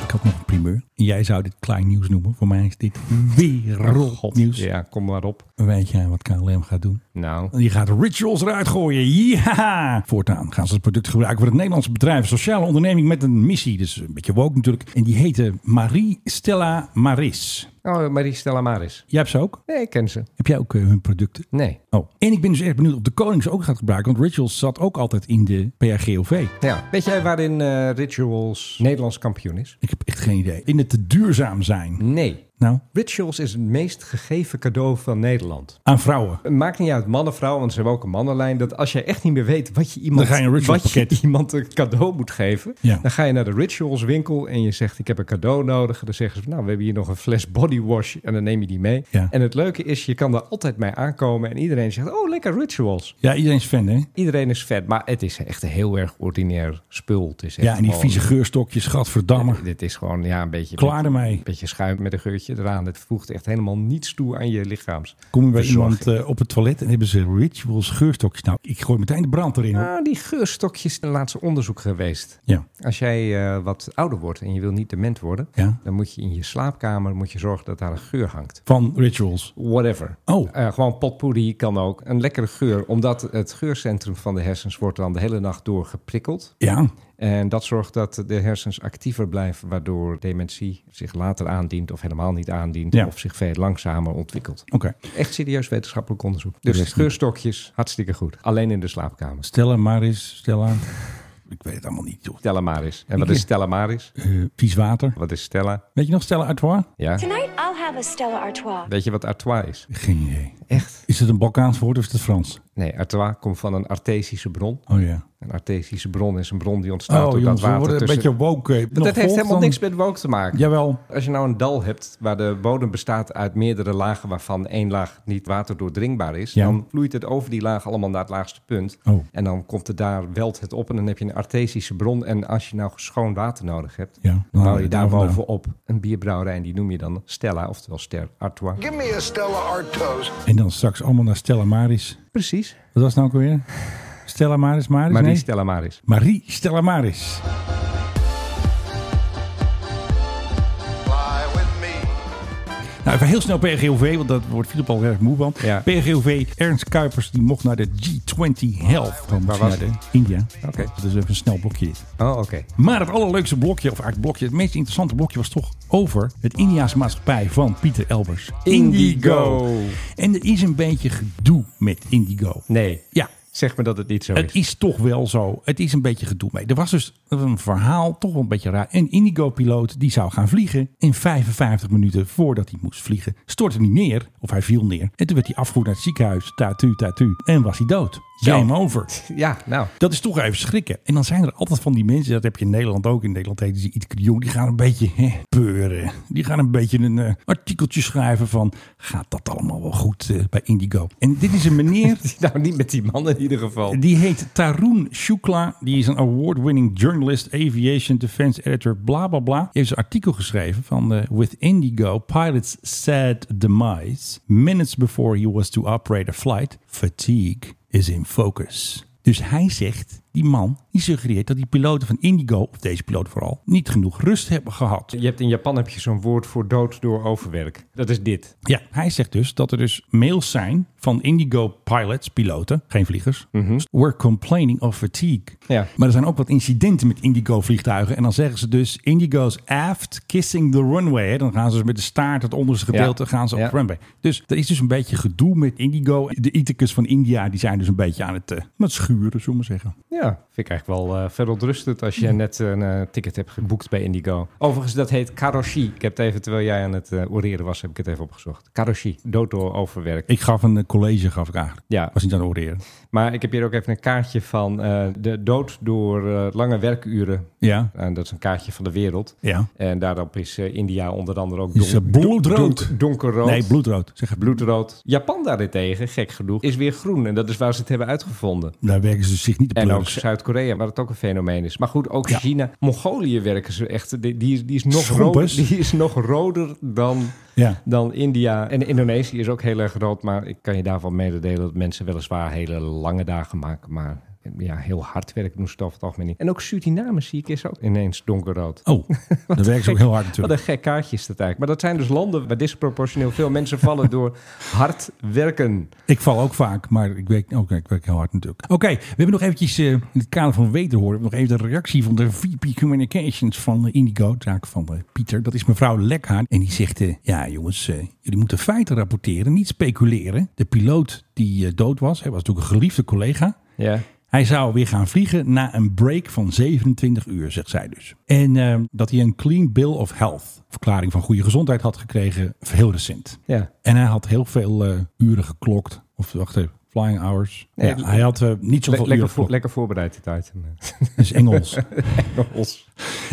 Speaker 5: Ik had nog een primeur. Jij zou dit klein nieuws noemen. Voor mij is dit wereldnieuws.
Speaker 8: Ja, kom maar op.
Speaker 5: Weet jij wat KLM gaat doen?
Speaker 8: Nou,
Speaker 5: Die gaat rituals eruit gooien. Ja! Voortaan gaan ze het product gebruiken voor het Nederlandse bedrijf. Sociale onderneming met een missie. Dus een beetje woke natuurlijk. En die heette Marie Stella Maris.
Speaker 8: oh, Marie Stella Maris.
Speaker 5: Jij hebt ze ook?
Speaker 8: Nee, ik ken ze.
Speaker 5: Heb jij ook eh, hun producten?
Speaker 8: Nee.
Speaker 5: Oh. En ik ben dus erg benieuwd of de koning ze ook gaat gebruiken. Want Rituals zat ook altijd in de PRGOV.
Speaker 8: Ja. Weet jij waarin eh, Rituals Nederlands kampioen is?
Speaker 5: Ik heb echt geen idee. In het te duurzaam zijn.
Speaker 8: Nee.
Speaker 5: Nou,
Speaker 8: Rituals is het meest gegeven cadeau van Nederland.
Speaker 5: aan vrouwen.
Speaker 8: Maakt niet uit man of vrouw, want ze hebben ook een mannenlijn. Dat als je echt niet meer weet wat je iemand,
Speaker 5: Dan ga je een Rituals
Speaker 8: wat je
Speaker 5: pakket.
Speaker 8: iemand een cadeau moet geven,
Speaker 5: Ja.
Speaker 8: dan ga je naar de Rituals winkel en je zegt: Ik heb een cadeau nodig. En dan zeggen ze: Nou, we hebben hier nog een fles body wash. En dan neem je die mee.
Speaker 5: Ja.
Speaker 8: En het leuke is, je kan daar altijd mee aankomen. En iedereen zegt: Oh, lekker Rituals.
Speaker 5: Ja, iedereen is fan, hè?
Speaker 8: Iedereen is vet, maar het is echt een heel erg ordinair spul. Het is echt
Speaker 5: Ja, en die
Speaker 8: gewoon-
Speaker 5: vieze geurstokjes, gadverdamme.
Speaker 8: Dit is gewoon ja, een beetje.
Speaker 5: Klaar
Speaker 8: Een
Speaker 5: ermee.
Speaker 8: beetje schuim met een geurtje eraan. Het voegt echt helemaal niets toe aan je lichaams.
Speaker 5: Kom je bij
Speaker 8: verzorging.
Speaker 5: iemand eh, op het toilet en hebben ze rituals geurstokjes. Nou, ik gooi meteen de brand erin. hoor.
Speaker 8: Ah, die geurstokjes, een laatste onderzoek geweest.
Speaker 5: Ja.
Speaker 8: Als jij eh, wat ouder wordt en je wil niet dement worden,
Speaker 5: Ja.
Speaker 8: dan moet je in je slaapkamer moet je zorgen dat daar een geur hangt.
Speaker 5: Van rituals.
Speaker 8: Whatever.
Speaker 5: Oh.
Speaker 8: Eh, gewoon potpourri kan ook. Een lekkere geur, omdat het geurcentrum van de hersens wordt dan de hele nacht door geprikkeld.
Speaker 5: Ja.
Speaker 8: En dat zorgt dat de hersens actiever blijven, waardoor dementie zich later aandient of helemaal niet aandient
Speaker 5: Ja.
Speaker 8: of zich veel langzamer ontwikkelt.
Speaker 5: Oké.
Speaker 8: Echt serieus wetenschappelijk onderzoek.
Speaker 5: Dat
Speaker 8: Dus
Speaker 5: is niet-
Speaker 8: geurstokjes, hartstikke goed. Alleen in de slaapkamers.
Speaker 5: Stella, Maris, Stella. ik weet het allemaal niet, joh.
Speaker 8: Stella Maris. En wat is Stella Maris?
Speaker 5: Eh, vies water.
Speaker 8: Wat is Stella?
Speaker 5: Weet je nog Stella Artois?
Speaker 8: Ja.
Speaker 11: Tonight I'll have a Stella Artois.
Speaker 8: Weet je wat Artois is?
Speaker 5: Geen idee.
Speaker 8: Echt?
Speaker 5: Is het een Balkaans woord of is het Frans?
Speaker 8: Nee, Artois komt van een artesische bron.
Speaker 5: Oh ja.
Speaker 8: Een artesische bron is een bron die ontstaat
Speaker 5: Oh,
Speaker 8: door
Speaker 5: jongens,
Speaker 8: Nou, dat
Speaker 5: we
Speaker 8: water
Speaker 5: worden een
Speaker 8: tussen...
Speaker 5: beetje woke. eh. Nog
Speaker 8: dat heeft
Speaker 5: volgt
Speaker 8: helemaal
Speaker 5: dan-
Speaker 8: niks met woke te maken.
Speaker 5: Jawel.
Speaker 8: Als je nou een dal hebt waar de bodem bestaat uit meerdere lagen... waarvan één laag niet waterdoordringbaar is...
Speaker 5: Ja.
Speaker 8: dan vloeit het over die laag allemaal naar het laagste punt.
Speaker 5: Oh.
Speaker 8: En dan komt er daar, welt het op en dan heb je een artesische bron. En als je nou schoon water nodig hebt...
Speaker 5: Ja, dan
Speaker 8: dan
Speaker 5: haal
Speaker 8: haal
Speaker 5: je
Speaker 8: je
Speaker 5: het
Speaker 8: daar
Speaker 5: daar vandaan.
Speaker 8: bovenop een bierbrouwerij... en die noem je dan Stella, oftewel Ster Artois.
Speaker 5: En dan straks allemaal naar Stella Maris.
Speaker 8: Precies.
Speaker 5: Wat was het nou ook alweer? Stella Maris, Maris?
Speaker 8: Maar die
Speaker 5: nee?
Speaker 8: Stella Maris.
Speaker 5: Marie Stella Maris. Nou, even heel snel PGOV, want dat wordt Filip al erg moe van.
Speaker 8: Ja.
Speaker 5: PGOV, Ernst Kuipers, die mocht naar de G20 Health. Gewoon
Speaker 8: Waar was
Speaker 5: naar de
Speaker 8: het?
Speaker 5: India.
Speaker 8: Oké.
Speaker 5: Dat is even een snel blokje dit.
Speaker 8: Oh, oké.
Speaker 5: Maar het allerleukste blokje, of eigenlijk blokje, het meest interessante blokje was toch over het Indiaanse maatschappij van Pieter Elbers.
Speaker 8: Indigo.
Speaker 5: En er is een beetje gedoe met Indigo.
Speaker 8: Nee.
Speaker 5: Ja,
Speaker 8: Zeg me dat het niet zo
Speaker 5: het
Speaker 8: is.
Speaker 5: is toch wel zo. Het is een beetje gedoe mee. Er was dus een verhaal, toch wel een beetje raar. Een Indigo-piloot die zou gaan vliegen. En 55 minuten voordat hij moest vliegen, stortte hij neer. Of hij viel neer. En toen werd hij afgevoerd naar het ziekenhuis. Tatu, tatu. En was hij dood.
Speaker 8: Zo.
Speaker 5: Game over.
Speaker 8: Ja, nou.
Speaker 5: Dat is toch even schrikken. En dan zijn er altijd van die mensen, dat heb je in Nederland ook. In Nederland heten ze iets jong. Die gaan een beetje hè, peuren. Die gaan een beetje een eh, artikeltje schrijven van... gaat dat allemaal wel goed eh, bij Indigo? En dit is een meneer...
Speaker 8: Nou, niet met die man in ieder geval.
Speaker 5: Die heet Tarun Shukla. Die is een award-winning journalist, aviation defense editor, bla bla bla. Hij heeft een artikel geschreven van eh, With Indigo, Pilot's Sad Demise. Minutes before he was to operate a flight, fatigue is in focus. Dus hij zegt, die man, die suggereert dat die piloten van Indigo, of deze piloot vooral, niet genoeg rust hebben gehad.
Speaker 8: Je hebt in Japan heb je zo'n woord voor dood door overwerk. Dat is dit.
Speaker 5: Ja, hij zegt dus dat er dus mails zijn van Indigo pilots, piloten, geen vliegers. We're complaining of fatigue.
Speaker 8: Mhm. Ja.
Speaker 5: Maar er zijn ook wat incidenten met Indigo vliegtuigen. En dan zeggen ze dus Indigo's aft kissing the runway. hè. Dan gaan ze dus met de staart het onderste gedeelte
Speaker 8: Ja.
Speaker 5: gaan ze op
Speaker 8: Ja.
Speaker 5: de runway. Dus er is dus een beetje gedoe met Indigo. De Ithicus van India die zijn dus een beetje aan het, eh, aan het schuren, zullen we maar zeggen.
Speaker 8: Ja, vind ik eigenlijk wel eh, verontrustend als je net een eh, ticket hebt geboekt bij Indigo. Overigens, dat heet karoshi. Ik heb het even, terwijl jij aan het eh, oreren was, heb ik het even opgezocht. Karoshi, dood door overwerk.
Speaker 5: Ik gaf een eh, college, gaf ik eigenlijk.
Speaker 8: Ja.
Speaker 5: Was niet aan het oreren.
Speaker 8: Maar ik heb hier ook even een kaartje van eh, de dood door eh, lange werkuren.
Speaker 5: Ja.
Speaker 8: En dat is een kaartje van de wereld.
Speaker 5: Ja.
Speaker 8: En daarop is eh, India onder andere ook
Speaker 5: Is,
Speaker 8: don-
Speaker 5: eh, bloedrood.
Speaker 8: don- donkerrood.
Speaker 5: Nee, bloedrood. Zeg,
Speaker 8: bloedrood. Japan daarentegen, gek genoeg, is weer groen. En dat is waar ze het hebben uitgevonden.
Speaker 5: daar werken ze dus zich niet op
Speaker 8: En ook
Speaker 5: pleuris.
Speaker 8: Zuid-Korea, waar het ook een fenomeen is. Maar goed, ook
Speaker 5: Ja.
Speaker 8: China. Mongolië werken ze echt. Die, die, is, die, is nog
Speaker 5: Schompers.
Speaker 8: roder, die is nog roder dan,
Speaker 5: Ja.
Speaker 8: dan India. En Indonesië is ook heel erg rood. Maar ik kan je daarvan mededelen dat mensen weliswaar hele lange dagen maken. Maar ja, heel hard werken doen ze het over het algemeen niet. En ook Suriname zie ik is ook ineens donkerrood.
Speaker 5: Oh, daar werken ze ook heel hard natuurlijk.
Speaker 8: Wat een gek kaartje is dat eigenlijk. Maar dat zijn dus landen waar disproportioneel veel mensen vallen door hard werken.
Speaker 5: Ik val ook vaak, maar ik werk, ook, ik werk heel hard natuurlijk. Oké, we hebben nog eventjes eh, in het kader van wederhoren... hebben we nog even de reactie van de VP Communications van eh, Indigo... zaak van eh, Pieter, dat is mevrouw Lekhaan. En die zegt, eh, ja jongens, eh, jullie moeten feiten rapporteren, niet speculeren. De piloot die eh, dood was, hij was natuurlijk een geliefde collega...
Speaker 8: Ja.
Speaker 5: Hij zou weer gaan vliegen na een break van 27 uur, zegt zij dus. En eh, dat hij een clean bill of health, verklaring van goede gezondheid, had gekregen heel recent.
Speaker 8: Ja.
Speaker 5: En hij had heel veel eh, uren geklokt. Of wacht even, flying hours.
Speaker 8: Ja,
Speaker 5: Ja, hij had eh, niet
Speaker 8: Le-
Speaker 5: zoveel
Speaker 8: lekker,
Speaker 5: uren
Speaker 8: voor,
Speaker 5: geklokt.
Speaker 8: lekker voorbereid dit item.
Speaker 5: Dat is Engels.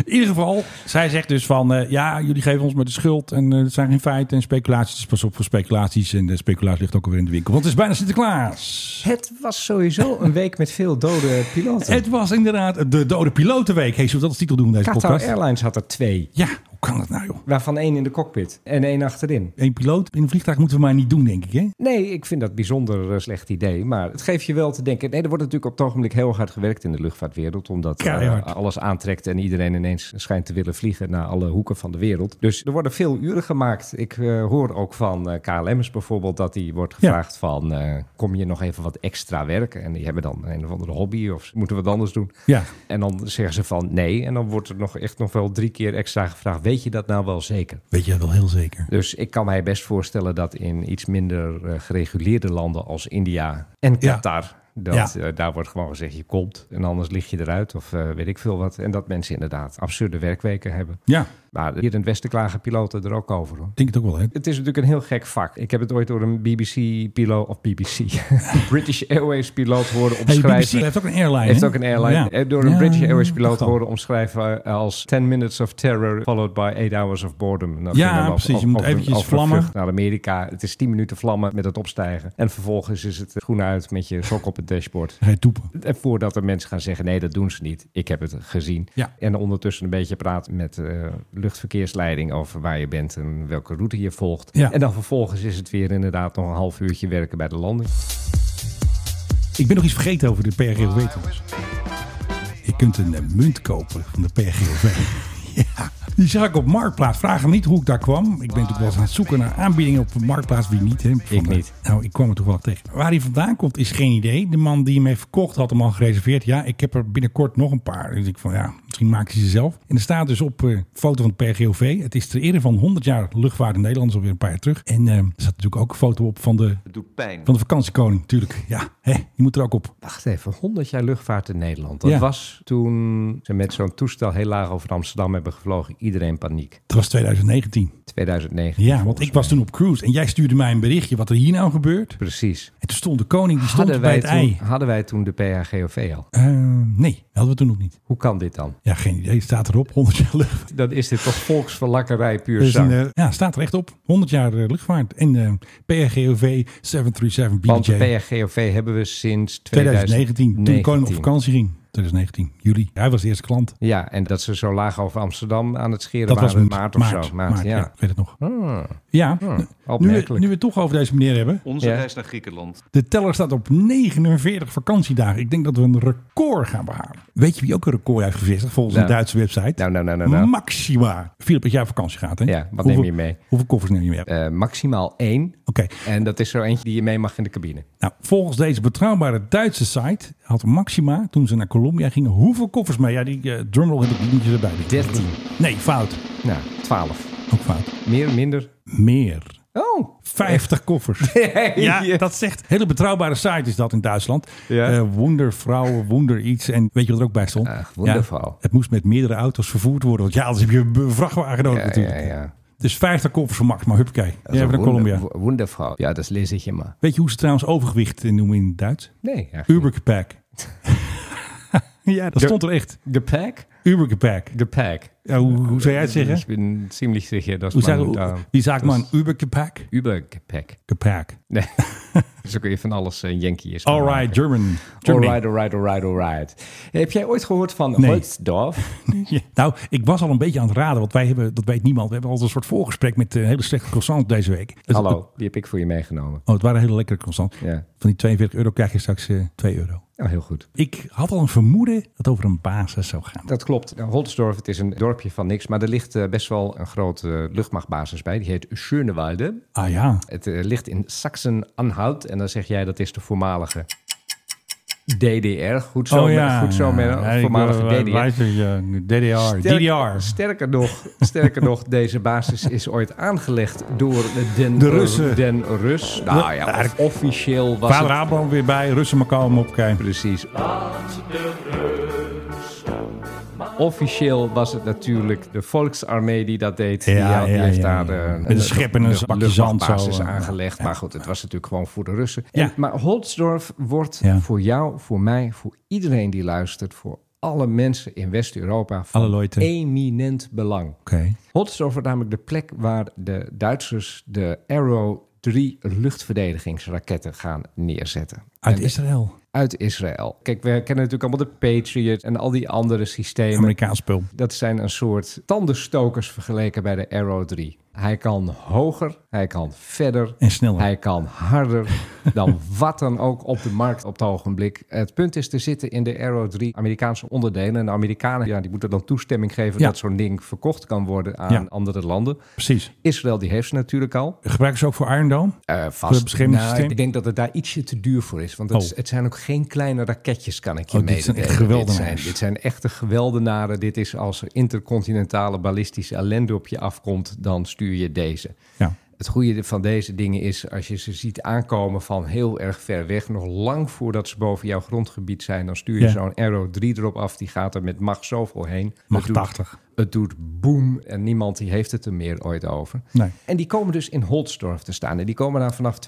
Speaker 5: In ieder geval, zij zegt dus van... eh, ja, jullie geven ons maar de schuld. En eh, het zijn geen feiten en speculaties. Dus pas op voor speculaties. En de speculatie ligt ook alweer in de winkel. Want het is bijna Sinterklaas.
Speaker 8: Het was sowieso een week met veel dode piloten.
Speaker 5: Het was inderdaad de dode pilotenweek. Hey, zullen we dat als titel doen in deze
Speaker 8: Qatar
Speaker 5: podcast?
Speaker 8: Airlines had er twee,
Speaker 5: Ja, hoe kan dat nou joh?
Speaker 8: waarvan één in de cockpit en één achterin.
Speaker 5: Eén piloot in een vliegtuig moeten we maar niet doen, denk ik hè?
Speaker 8: Nee, ik vind dat bijzonder eh, slecht idee. Maar het geeft je wel te denken. Nee, er wordt natuurlijk op het ogenblik heel hard gewerkt in de luchtvaartwereld. Omdat eh,
Speaker 5: Keihard.
Speaker 8: alles aantrekt en iedereen ineens schijnt te willen vliegen naar alle hoeken van de wereld. Dus er worden veel uren gemaakt. Ik eh, hoor ook van eh, KLM'ers bijvoorbeeld dat die wordt gevraagd van... eh, kom je nog even wat extra werken? En die hebben dan een of andere hobby of ze moeten wat anders doen.
Speaker 5: Ja.
Speaker 8: En dan zeggen ze van nee. En dan wordt er nog echt nog wel drie keer extra gevraagd. Weet je dat nou wel zeker?
Speaker 5: Weet je wel heel zeker.
Speaker 8: Dus ik kan mij best voorstellen dat in iets minder eh, gereguleerde landen als India en
Speaker 5: Ja.
Speaker 8: Qatar. Dat eh, daar wordt gewoon gezegd, je komt en anders lig je eruit of eh, weet ik veel wat. En dat mensen inderdaad absurde werkweken hebben.
Speaker 5: Ja,
Speaker 8: Maar hier in het Westen klagen piloten er ook over hoor.
Speaker 5: ik denk het ook wel hè?
Speaker 8: Het is natuurlijk een heel gek vak. Ik heb het ooit door een BBC-piloot, of BBC, British Airways-piloot horen
Speaker 5: Hey,
Speaker 8: omschrijven.
Speaker 5: BBC heeft ook een airline
Speaker 8: Heeft
Speaker 5: hè?
Speaker 8: ook een airline.
Speaker 5: Ja.
Speaker 8: Eh, Door een
Speaker 5: Ja,
Speaker 8: British Airways
Speaker 5: dacht
Speaker 8: piloot
Speaker 5: al.
Speaker 8: worden omschreven als 10 minutes of terror followed by 8 hours of boredom. En dat
Speaker 5: Ja,
Speaker 8: ging dan over-
Speaker 5: precies. Je
Speaker 8: over-
Speaker 5: moet
Speaker 8: over-
Speaker 5: eventjes
Speaker 8: over een
Speaker 5: vlammen.
Speaker 8: vlucht Naar Amerika. Het is 10 minuten vlammen met het opstijgen. En vervolgens is het groen uit met je sok op het dashboard.
Speaker 5: Dan Ga je toepen.
Speaker 8: En voordat er mensen gaan zeggen, nee, dat doen ze niet. Ik heb het gezien.
Speaker 5: Ja.
Speaker 8: En ondertussen een beetje praten met eh, luchtverkeersleiding over waar je bent en welke route je volgt.
Speaker 5: Ja.
Speaker 8: En dan vervolgens is het weer inderdaad nog een half uurtje werken bij de landing.
Speaker 5: Ik ben nog iets vergeten over de PRGOV trouwens. Je kunt een eh, munt kopen van de PRGOV. Die zag ik op Marktplaats. Vraag hem niet hoe ik daar kwam. Ik ben natuurlijk wel eens aan het zoeken naar aanbiedingen op Marktplaats. Wie niet, hè? Van,
Speaker 8: Ik niet.
Speaker 5: eh, Nou, ik kwam er toevallig tegen. Waar hij vandaan komt, is geen idee. De man die hem heeft verkocht, had hem al gereserveerd. Ja, ik heb er binnenkort nog een paar. Dus ik van, ja, misschien maken ze ze zelf. En er staat dus op eh, een foto van het PGOV. Het is ter ere van 100 jaar luchtvaart in Nederland. Dat is alweer een paar jaar terug. En eh, er staat natuurlijk ook een foto op van de,
Speaker 10: Het doet pijn.
Speaker 5: van de vakantiekoning. Tuurlijk, ja. Hè, die moet er ook op.
Speaker 8: Wacht even, 100 jaar luchtvaart in Nederland. Dat
Speaker 5: Ja.
Speaker 8: was toen ze met zo'n toestel heel laag over Amsterdam hebben gevlogen. Iedereen paniek.
Speaker 5: Dat was 2019.
Speaker 8: 2009.
Speaker 5: Ja, want ik was toen op cruise. En jij stuurde mij een berichtje wat er hier nou gebeurt.
Speaker 8: Precies.
Speaker 5: En toen stond de koning, die stond
Speaker 8: Hadden
Speaker 5: bij
Speaker 8: wij,
Speaker 5: het
Speaker 8: toen,
Speaker 5: ei.
Speaker 8: hadden wij toen de PHGOV al?
Speaker 5: Eh, nee, hadden we toen nog niet.
Speaker 8: Hoe kan dit dan?
Speaker 5: Ja, geen idee. Staat erop, 100 jaar luchtvaart.
Speaker 8: Dan is dit toch volksverlakkerij puur
Speaker 5: Dus
Speaker 8: zang.
Speaker 5: een, eh, ja, staat er echt op. 100 jaar eh, luchtvaart. En eh PRGOV 737
Speaker 8: Want de
Speaker 5: BJ.
Speaker 8: PHGOV hebben we sinds
Speaker 5: 2019,
Speaker 8: 2019.
Speaker 5: toen de koning op vakantie ging. 2019, juli. Hij was de eerste klant.
Speaker 8: Ja, en dat ze zo laag over Amsterdam aan het scheren
Speaker 5: Dat was
Speaker 8: waren.
Speaker 5: een
Speaker 8: in maart of zo. Maart, ja. Ah.
Speaker 5: ik weet het nog. Ja, nu, we,
Speaker 8: opmerkelijk.
Speaker 5: nu we het toch over deze meneer hebben.
Speaker 10: Onze
Speaker 8: Ja.
Speaker 10: reis naar Griekenland.
Speaker 5: De teller staat op 49 vakantiedagen. Ik denk dat we een record gaan behalen. Weet je wie ook een record heeft gevestigd volgens
Speaker 8: Nou.
Speaker 5: een Duitse website?
Speaker 8: Nou, nou, nou, nou, nou.
Speaker 5: Maxima. Philip, als jij op vakantie gaat, hè?
Speaker 8: Ja, wat neem
Speaker 5: Hoeveel-
Speaker 8: je mee?
Speaker 5: Hoeveel koffers neem je mee? Oké.
Speaker 8: Eh, maximaal één. En dat is zo eentje die je mee mag in de cabine.
Speaker 5: Nou, volgens deze betrouwbare Duitse site had Maxima, toen ze naar Colombia gingen, hoeveel koffers mee? Ja, die eh, drumroll heb ik niet erbij.
Speaker 8: 13.
Speaker 5: Nee, fout.
Speaker 8: Nou, 12.
Speaker 5: Ook fout.
Speaker 8: Meer, minder?
Speaker 5: Meer.
Speaker 8: Oh.
Speaker 5: 50 koffers. Ja, dat zegt. Hele betrouwbare site is dat in Duitsland.
Speaker 8: Ja.
Speaker 5: Eh wondervrouwen, wonder iets. En weet je wat er ook bij stond?
Speaker 8: Ach, wondervrouw.
Speaker 5: Ja, het moest met meerdere auto's vervoerd worden. Want ja, anders heb je een vrachtwagen nodig
Speaker 8: Ja, ja,
Speaker 5: Oh, natuurlijk.
Speaker 8: ja.
Speaker 5: Dus 50 koffers voor Max, maar huppakee. Jij hebt naar Colombia.
Speaker 8: Wondervrouw. Ja, dat lees ik je maar.
Speaker 5: Weet je hoe ze trouwens overgewicht eh, noemen in het Duits?
Speaker 8: Nee. ja.
Speaker 5: Ubergepack. ja, dat
Speaker 8: Ja.
Speaker 5: stond er echt.
Speaker 8: Gepäck?
Speaker 5: Ubergepack.
Speaker 8: Gepäck.
Speaker 5: Ja, hoe, hoe zou jij het zeggen?
Speaker 8: Eh, Ik ben ziemlich sicher, dat
Speaker 5: Hoe
Speaker 8: man
Speaker 5: zou,
Speaker 8: da-
Speaker 5: wie zegt
Speaker 8: dat
Speaker 5: man?
Speaker 8: is
Speaker 5: Ubergepack?
Speaker 8: Übergepäck.
Speaker 5: Gepack.
Speaker 8: Nee. Zo kun je van alles eh, Yankee is.
Speaker 5: All right, German. Germany.
Speaker 8: Alright, alright, alright, alright. Heb jij ooit gehoord van
Speaker 5: Nee.
Speaker 8: Holzdorf?
Speaker 5: Ja. Nou, ik was al een beetje aan het raden, want wij hebben, dat weet niemand, we hebben altijd een soort voorgesprek met eh, hele slechte croissants deze week. Het- het-
Speaker 8: Hallo, die heb ik voor je meegenomen.
Speaker 5: oh, het waren hele lekkere croissants.
Speaker 8: Ja.
Speaker 5: Van die 42 euro krijg je straks eh 2 euro.
Speaker 8: Oh, heel goed.
Speaker 5: Ik had al een vermoeden dat het over een basis zou gaan.
Speaker 8: Dat klopt. Nou, Holsdorf, het is een dorpje van niks, maar er ligt eh, best wel een grote eh, luchtmachtbasis bij. Die heet Schönewalde.
Speaker 5: Ah ja,
Speaker 8: Het eh, ligt in Sachsen-Anhalt en dan zeg jij dat is de voormalige DDR. Goed zo,
Speaker 5: oh,
Speaker 8: met-
Speaker 5: ja.
Speaker 8: goed zo met een
Speaker 5: Ja, ik
Speaker 8: voormalige
Speaker 5: wil- eh,
Speaker 8: DDR.
Speaker 5: wijzer, ja, DDR.
Speaker 8: Sterk-
Speaker 5: DDR.
Speaker 8: Sterker nog, sterker nog, deze basis is ooit aangelegd door den,
Speaker 5: De Russen.
Speaker 8: Den Rus. Nou ja, of officieel was
Speaker 5: Vader
Speaker 8: het...
Speaker 5: Abraham weer bij, Russen maar kalm opkijken.
Speaker 8: Precies. Officieel was het natuurlijk de Volksarmee die dat deed. die,
Speaker 5: Ja,
Speaker 8: had- die
Speaker 5: ja,
Speaker 8: heeft
Speaker 5: ja,
Speaker 8: daar
Speaker 5: ja.
Speaker 8: de,
Speaker 5: Met een schep en een zakje zand zo,
Speaker 8: luchtmachtbasis
Speaker 5: eh,
Speaker 8: aangelegd. Maar goed, het was natuurlijk gewoon voor de Russen.
Speaker 5: Ja.
Speaker 8: En- maar Holsdorf wordt
Speaker 5: Ja.
Speaker 8: voor jou, voor mij, voor iedereen die luistert, voor alle mensen in West-Europa
Speaker 5: Alle
Speaker 8: van
Speaker 5: Leute.
Speaker 8: eminent belang.
Speaker 5: Oké.
Speaker 8: Hotsdorf wordt namelijk de plek waar de Duitsers de Arrow 3 luchtverdedigingsraketten gaan neerzetten.
Speaker 5: Uit
Speaker 8: En-
Speaker 5: Israël.
Speaker 8: uit Israël. Kijk, we kennen natuurlijk allemaal de Patriot en al die andere systemen.
Speaker 5: Amerikaans spul.
Speaker 8: Dat zijn een soort tandenstokers vergeleken bij de Arrow 3. Hij kan hoger, hij kan verder.
Speaker 5: En sneller.
Speaker 8: Hij kan harder dan wat dan ook op de markt op het ogenblik. Het punt is, er zitten in de Arrow 3 Amerikaanse onderdelen. En de Amerikanen ja, die moeten dan toestemming geven
Speaker 5: Ja.
Speaker 8: dat zo'n ding verkocht kan worden aan
Speaker 5: Ja.
Speaker 8: andere landen.
Speaker 5: Precies.
Speaker 8: Israël die heeft ze natuurlijk al.
Speaker 5: Gebruiken ze ook voor Iron Dome?
Speaker 8: Eh,
Speaker 5: Voor het
Speaker 8: vast.
Speaker 5: beschermingssysteem?
Speaker 8: Nou, ik denk dat het daar ietsje te duur voor is. Want het,
Speaker 5: Oh.
Speaker 8: is- het zijn ook geen kleine raketjes, kan ik je
Speaker 5: Oh, dit zijn
Speaker 8: mededelen.
Speaker 5: echt geweldenaars.
Speaker 8: Dit zijn, dit zijn echte geweldenaren. Dit is als er intercontinentale ballistische ellende op je afkomt, dan stuur je deze.
Speaker 5: Ja.
Speaker 8: Het goede van deze dingen is, als je ze ziet aankomen van heel erg ver weg, nog lang voordat ze boven jouw grondgebied zijn, dan stuur je
Speaker 5: Ja.
Speaker 8: zo'n Arrow 3 erop af. Die gaat er met macht zoveel heen.
Speaker 5: Macht
Speaker 8: Het doet-
Speaker 5: 80.
Speaker 8: het doet boem en niemand die heeft het er meer ooit over.
Speaker 5: Nee.
Speaker 8: En die komen dus in Holsdorf te staan. En die komen daar vanaf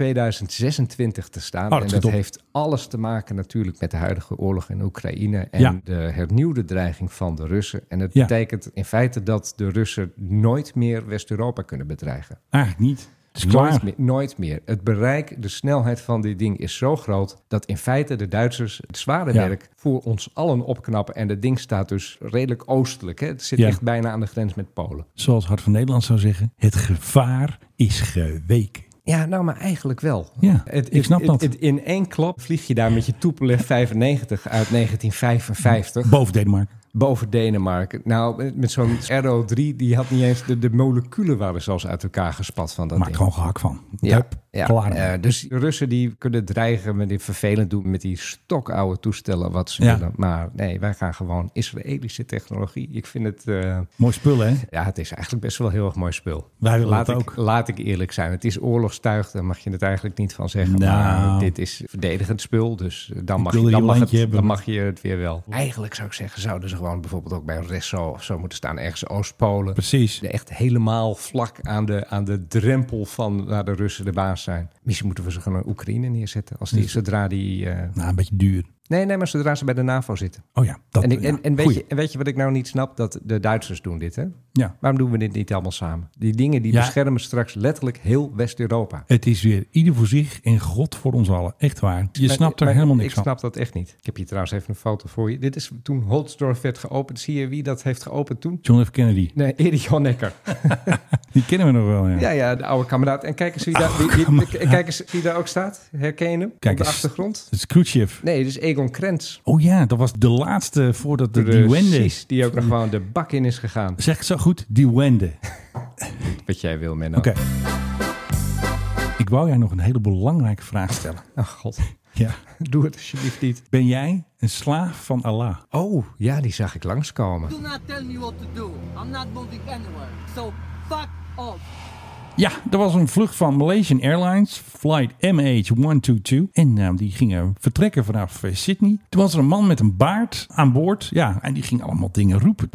Speaker 8: 2026 te staan.
Speaker 5: Oh, dat
Speaker 8: en
Speaker 5: schiet
Speaker 8: dat
Speaker 5: op.
Speaker 8: heeft alles te maken natuurlijk met de huidige oorlog in Oekraïne. En
Speaker 5: Ja.
Speaker 8: de hernieuwde dreiging van de Russen. En het
Speaker 5: Ja.
Speaker 8: betekent in feite dat de Russen nooit meer West-Europa kunnen bedreigen.
Speaker 5: Eigenlijk niet. Het is
Speaker 8: Nooit
Speaker 5: klaar.
Speaker 8: meer, nooit meer. Het bereik, de snelheid van dit ding is zo groot dat in feite de Duitsers het zware
Speaker 5: Ja.
Speaker 8: werk voor ons allen opknappen. En dat ding staat dus redelijk oostelijk. Hè? Het zit
Speaker 5: Ja.
Speaker 8: echt bijna aan de grens met Polen.
Speaker 5: Zoals Hart van Nederland zou zeggen, het gevaar is geweken.
Speaker 8: Ja, nou, maar eigenlijk wel.
Speaker 5: Ja, ik snap dat.
Speaker 8: in één klap vlieg je daar met je Tupolev 95 uit 1955
Speaker 5: Boven Denemarken.
Speaker 8: boven Denemarken. Nou, met zo'n RO3, die had niet eens... De, de moleculen waren zelfs uit elkaar gespat van dat
Speaker 5: Maak
Speaker 8: ding.
Speaker 5: gewoon gehakt van. Hup,
Speaker 8: ja.
Speaker 5: klaar.
Speaker 8: Eh, dus de Russen die kunnen dreigen met die vervelend doen met die stokoude toestellen wat ze
Speaker 5: Ja.
Speaker 8: willen. Maar nee, wij gaan gewoon Israëlische technologie. Ik vind het, eh,
Speaker 5: Mooi spul, hè?
Speaker 8: ja, het is eigenlijk best wel heel erg mooi spul.
Speaker 5: Wij willen
Speaker 8: laat
Speaker 5: dat
Speaker 8: ik,
Speaker 5: ook.
Speaker 8: Laat ik eerlijk zijn. Het is oorlogstuig, daar mag je het eigenlijk niet van zeggen.
Speaker 5: Nou.
Speaker 8: Maar dit is verdedigend spul, dus dan mag,
Speaker 5: wil
Speaker 8: je,
Speaker 5: hier
Speaker 8: dan,
Speaker 5: een
Speaker 8: mag
Speaker 5: landje
Speaker 8: het,
Speaker 5: hebben.
Speaker 8: dan mag je het weer wel. Eigenlijk zou ik zeggen, zouden ze gewoon bijvoorbeeld ook bij Resso of zo moeten staan. Ergens Oost-Polen.
Speaker 5: Precies.
Speaker 8: De Echt helemaal vlak aan de, aan de drempel van waar de Russen de baas zijn. Misschien moeten we ze gewoon in Oekraïne neerzetten. Als
Speaker 5: Hm.
Speaker 8: die, zodra die. eh,
Speaker 5: Nou, een beetje duur.
Speaker 8: Nee, nee, maar zodra ze bij de NAVO zitten.
Speaker 5: Oh ja, dat
Speaker 8: en, ik,
Speaker 5: ja,
Speaker 8: en, en, weet
Speaker 5: goeie.
Speaker 8: je, en weet je wat ik nou niet snap? Dat de Duitsers doen dit, hè?
Speaker 5: Ja.
Speaker 8: Waarom doen we dit niet allemaal samen? Die dingen die
Speaker 5: Ja.
Speaker 8: beschermen straks letterlijk heel West-Europa.
Speaker 5: Het is weer ieder voor zich en God voor ons allen. Echt waar. Je
Speaker 8: Maar-
Speaker 5: snapt er
Speaker 8: maar
Speaker 5: helemaal niks
Speaker 8: Ik
Speaker 5: van.
Speaker 8: snap dat echt niet. Ik heb hier trouwens even een foto voor je. Dit is toen Holtsdorf werd geopend. Zie je wie dat heeft geopend toen?
Speaker 5: John F. Kennedy.
Speaker 8: Nee, Erich Honecker.
Speaker 5: Die kennen we nog wel, ja.
Speaker 8: Ja, ja, de oude kameraad. En kijk eens wie daar, wie, wie- kijk eens wie daar ook staat. Herken je hem?
Speaker 5: Kijk
Speaker 8: op de
Speaker 5: eens.
Speaker 8: achtergrond?
Speaker 5: Het is Khrushchev.
Speaker 8: Nee, dus Egon Krenz.
Speaker 5: Oh ja, dat was de laatste voordat de, die Wende
Speaker 8: Precies,
Speaker 5: is.
Speaker 8: die ook nog gewoon de bak in is gegaan.
Speaker 5: Zeg ik zo goed? Die Wende.
Speaker 8: Wat jij wil, Menno.
Speaker 5: Oké. Ik wou jij nog een hele belangrijke vraag stellen.
Speaker 8: Ach, god.
Speaker 5: Ja.
Speaker 8: Doe het alsjeblieft niet.
Speaker 5: Ben jij een slaaf van Allah?
Speaker 8: Oh, ja, die zag ik langskomen.
Speaker 9: not tell me what to do. I'm not moving anywhere. So fuck off.
Speaker 5: Ja, er was een vlucht van Malaysian Airlines, flight MH122. En eh, die gingen vertrekken vanaf eh, Sydney. Toen was er een man met een baard aan boord. Ja, en die ging allemaal dingen roepen.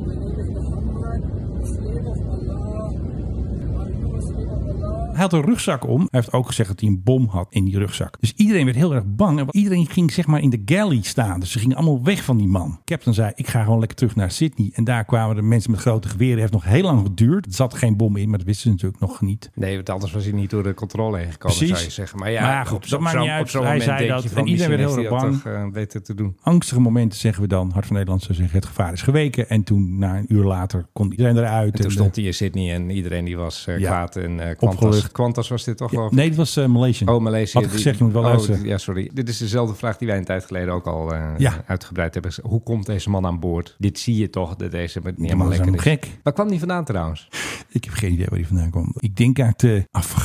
Speaker 5: Hij had een rugzak om. Hij heeft ook gezegd dat hij een bom had in die rugzak. Dus iedereen werd heel erg bang. En iedereen ging zeg maar in de galley staan. Dus ze gingen allemaal weg van die man. Captain zei, ik ga gewoon lekker terug naar Sydney. En daar kwamen de mensen met grote geweren. Het heeft nog heel lang geduurd. Er zat geen bom in, maar dat wisten ze natuurlijk nog niet.
Speaker 8: Nee, want anders was hij niet door de controle heen gekomen,
Speaker 5: Precies.
Speaker 8: zou je zeggen. Maar ja,
Speaker 5: Maar ja, goed,
Speaker 8: op
Speaker 5: dat
Speaker 8: zo'n-
Speaker 5: maakt niet
Speaker 8: zo'n-
Speaker 5: uit.
Speaker 8: op zo'n
Speaker 5: Hij
Speaker 8: moment
Speaker 5: zei
Speaker 8: denk
Speaker 5: dat
Speaker 8: je
Speaker 5: en
Speaker 8: van,
Speaker 5: iedereen werd
Speaker 8: misschien
Speaker 5: heel
Speaker 8: heeft
Speaker 5: erg
Speaker 8: hij dat toch, eh, weten te doen.
Speaker 5: angstige momenten zeggen we dan. Hart van Nederland zou zeggen het gevaar is geweken. En toen na een uur later kon iedereen eruit.
Speaker 8: En toen
Speaker 5: En, eh,
Speaker 8: stond hij in Sydney en iedereen die was eh,
Speaker 5: Ja.
Speaker 8: kwaad. En eh Qantas,
Speaker 5: Opgelucht.
Speaker 8: Qantas was dit toch
Speaker 5: eh,
Speaker 8: wel?
Speaker 5: nee, het was eh Malaysian.
Speaker 8: Oh, Maleisië.
Speaker 5: Had ik
Speaker 8: die-
Speaker 5: gezegd, je moet wel
Speaker 8: oh,
Speaker 5: luisteren.
Speaker 8: Ja, sorry. Dit is dezelfde vraag die wij een tijd geleden ook al eh,
Speaker 5: Ja.
Speaker 8: uitgebreid hebben. Hoe komt deze man aan boord? Dit zie je toch, dat deze niet
Speaker 5: Die man
Speaker 8: helemaal
Speaker 5: is
Speaker 8: lekker dus. is.
Speaker 5: helemaal gek.
Speaker 8: Waar kwam die vandaan trouwens?
Speaker 5: Ik heb geen idee waar die vandaan komt. Ik denk uit eh,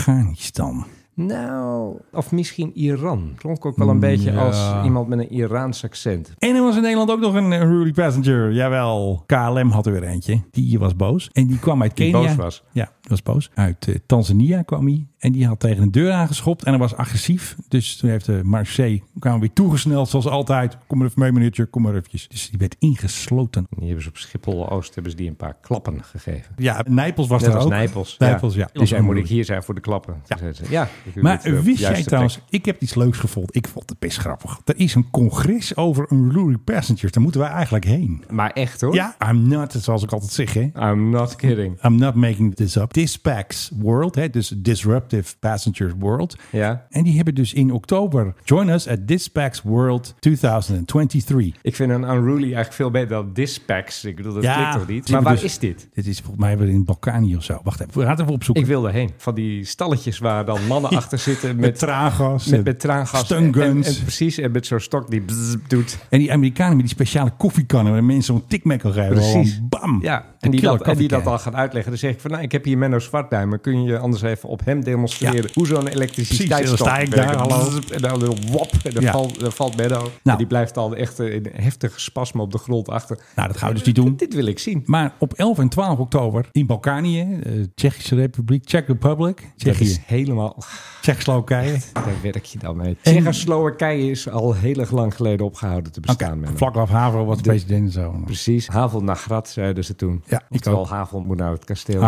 Speaker 5: Afghanistan.
Speaker 8: Nou, of misschien Iran. Klonk ook wel
Speaker 5: Mm,
Speaker 8: een beetje als iemand met een Iraans accent.
Speaker 5: En er was in Nederland ook nog een eh, Hurley Passenger. Jawel. KLM had er weer eentje. Die was boos. En die kwam uit
Speaker 8: Die
Speaker 5: Kenia.
Speaker 8: boos was.
Speaker 5: Ja, die was boos. Uit eh, Tanzania kwam hij. En die had tegen een deur aangeschopt. En hij was agressief. Dus toen heeft de Marseille... kwamen weer toegesneld zoals altijd. Kom maar even mee meneertje. Kom maar eventjes. Dus die werd ingesloten.
Speaker 8: Die hebben ze op Schiphol Oost hebben ze die een paar klappen gegeven.
Speaker 5: Ja, Nijpels was
Speaker 8: Net
Speaker 5: er
Speaker 8: als
Speaker 5: ook.
Speaker 8: Nijpels.
Speaker 5: Nijpels, ja.
Speaker 8: Die zei, moet ik hier zijn voor de klappen? Ja. ja ik doe dit, eh,
Speaker 5: Maar
Speaker 8: op de
Speaker 5: wist
Speaker 8: juiste
Speaker 5: jij
Speaker 8: plek.
Speaker 5: trouwens, ik heb iets leuks gevonden. Ik vond het best grappig. Er is een congres over een Luri Passengers. Daar moeten wij eigenlijk heen.
Speaker 8: Maar echt hoor.
Speaker 5: Ja, I'm not, zoals ik altijd zeg. Hè.
Speaker 8: I'm not kidding.
Speaker 5: I'm not making this up. Dispac's World, hè, dus Disruptive Passengers World.
Speaker 8: Ja.
Speaker 5: En die hebben dus in oktober... Join us at Dispac's World 2023.
Speaker 8: Ik vind een unruly eigenlijk veel beter dan dispacks. Ik bedoel, dat klinkt toch niet?
Speaker 5: zie
Speaker 8: Maar
Speaker 5: je
Speaker 8: waar
Speaker 5: dus-
Speaker 8: is dit?
Speaker 5: Dit is volgens mij weer in Balkanië of zo. Wacht even, we gaan het even opzoeken.
Speaker 8: Ik wil erheen. Van die stalletjes waar dan mannen achter zitten met,
Speaker 5: met traangas.
Speaker 8: Met, met traangas.
Speaker 5: Stun
Speaker 8: En, en,
Speaker 5: guns.
Speaker 8: en precies, en met zo'n stok die bzzz doet.
Speaker 5: En die Amerikanen met die speciale koffiekannen waar mensen zo'n tikmek kan geven.
Speaker 8: Precies.
Speaker 5: Gewoon Bam.
Speaker 8: Ja,
Speaker 5: Hm. Een
Speaker 8: en die,
Speaker 5: killer
Speaker 8: dat, en die dat
Speaker 5: koffiekijn.
Speaker 8: al gaat uitleggen. Dan zeg ik van, nou, ik heb hier Menno Zwart bij me. Kun je anders even op hem demonstreren hoe zo'n elektriciteitsstok
Speaker 5: Precies, dan sta ik daar,
Speaker 8: werkt?
Speaker 5: hallo.
Speaker 8: Bzzz, En dan weer wop, en dan,
Speaker 5: Ja. Nou.
Speaker 8: valt, dan valt Menno. En die blijft dan echt eh, in heftige spasmen op de grond achter.
Speaker 5: Nou, dat gaan we dus niet doen.
Speaker 8: Dit wil ik zien.
Speaker 5: Maar op 11 en 12 oktober in Balkanië, eh, Tsjechische Republiek, Czech Republic,
Speaker 8: Dat is
Speaker 5: Tsjechië,
Speaker 8: helemaal...
Speaker 5: Tsjechoslowakije.
Speaker 8: Daar werk je dan mee. Tsjechoslowakije is al heel erg lang geleden opgehouden te bestaan.
Speaker 5: Oké,
Speaker 8: Menno.
Speaker 5: Vlaclav Havel was de president en zo.
Speaker 8: Precies. Havel Nagrat zeiden ze toen.
Speaker 5: Ja, ik
Speaker 8: Oftewel,
Speaker 5: ook.
Speaker 8: Havel moet naar het kasteel.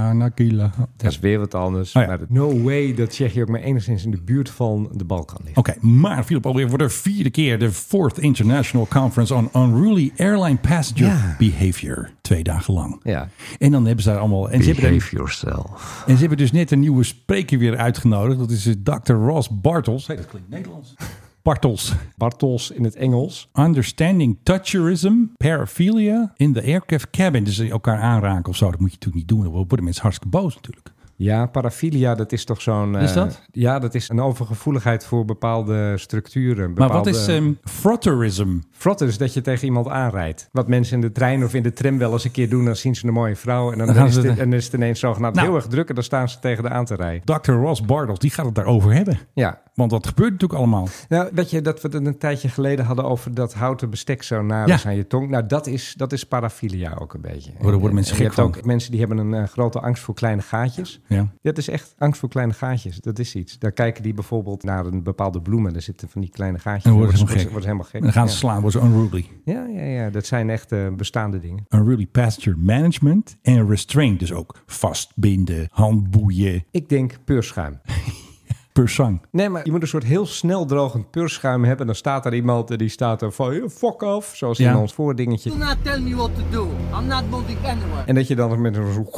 Speaker 5: Havanakila. Oké,
Speaker 8: Dat is weer wat anders.
Speaker 5: Oh ja.
Speaker 8: maar dat- no way dat Tsjechië ook maar enigszins in de buurt van de Balkan
Speaker 5: Oh.
Speaker 8: ligt.
Speaker 5: maar Philip alweer voor de vierde keer de Fourth International Conference on Unruly Airline Passenger
Speaker 8: Ja.
Speaker 5: Behavior. Twee dagen lang.
Speaker 8: Ja.
Speaker 5: En dan hebben ze daar allemaal... En ze hebben daar-
Speaker 8: yourself.
Speaker 5: En ze hebben dus net een nieuwe spreker weer uitgenodigd. Dat is eh, Dr. Ross Bartels. Hey, dat klinkt Nederlands. Bartels.
Speaker 8: Bartels in het Engels.
Speaker 5: Understanding toucherism, eh, paraphilia in the aircraft cabin. Dus elkaar aanraken of zo. Dat moet je natuurlijk niet doen. Dan worden mensen hartstikke boos natuurlijk.
Speaker 8: Ja, parafilia, dat is toch zo'n...
Speaker 5: Is
Speaker 8: eh,
Speaker 5: dat?
Speaker 8: Ja, dat is een overgevoeligheid voor bepaalde structuren.
Speaker 5: Maar
Speaker 8: Bepaalde...
Speaker 5: wat is ehm frotterism?
Speaker 8: Frotten is dat je tegen iemand aanrijdt. Wat mensen in de trein of in de tram wel eens een keer doen, dan zien ze een mooie vrouw. En dan,
Speaker 5: Dan gaan
Speaker 8: is,
Speaker 5: ze
Speaker 8: het,
Speaker 5: de-
Speaker 8: en is het ineens zogenaamd
Speaker 5: Nou.
Speaker 8: heel erg druk en dan staan ze tegen de aan te rijden.
Speaker 5: Dr. Ross Bartels, die gaat het daarover hebben.
Speaker 8: Ja.
Speaker 5: Want dat gebeurt natuurlijk allemaal.
Speaker 8: Nou, weet je dat we het een tijdje geleden hadden over dat houten bestek zo naar
Speaker 5: Ja.
Speaker 8: is aan je tong? Nou, dat is, dat is parafilia ook een beetje.
Speaker 5: daar worden mensen
Speaker 8: En je
Speaker 5: gek
Speaker 8: hebt
Speaker 5: van.
Speaker 8: ook Oh, mensen die hebben een eh, grote angst voor kleine gaatjes.
Speaker 5: Ja.
Speaker 8: Dat is echt angst voor kleine gaatjes. Dat is iets. Daar kijken die bijvoorbeeld naar een bepaalde bloem en er zitten van die kleine gaatjes.
Speaker 5: En dan worden ze helemaal gek.
Speaker 8: Wordt helemaal gek.
Speaker 5: En dan gaan ze
Speaker 8: Ja.
Speaker 5: slaan, worden ze unruly.
Speaker 8: Ja, ja, ja, dat zijn echt eh, bestaande dingen.
Speaker 5: Unruly pasture management en restraint. Dus ook vastbinden, handboeien,
Speaker 8: Ik denk peurschuim.
Speaker 5: persang.
Speaker 8: Nee, maar je moet een soort heel snel drogend peurschuim hebben. Dan staat er iemand en die staat er van, "Eh, fuck off, zoals
Speaker 5: Ja.
Speaker 8: in ons voordingetje.
Speaker 9: Do not tell me what to do. I'm not moving anywhere.
Speaker 8: En dat je dan met een zo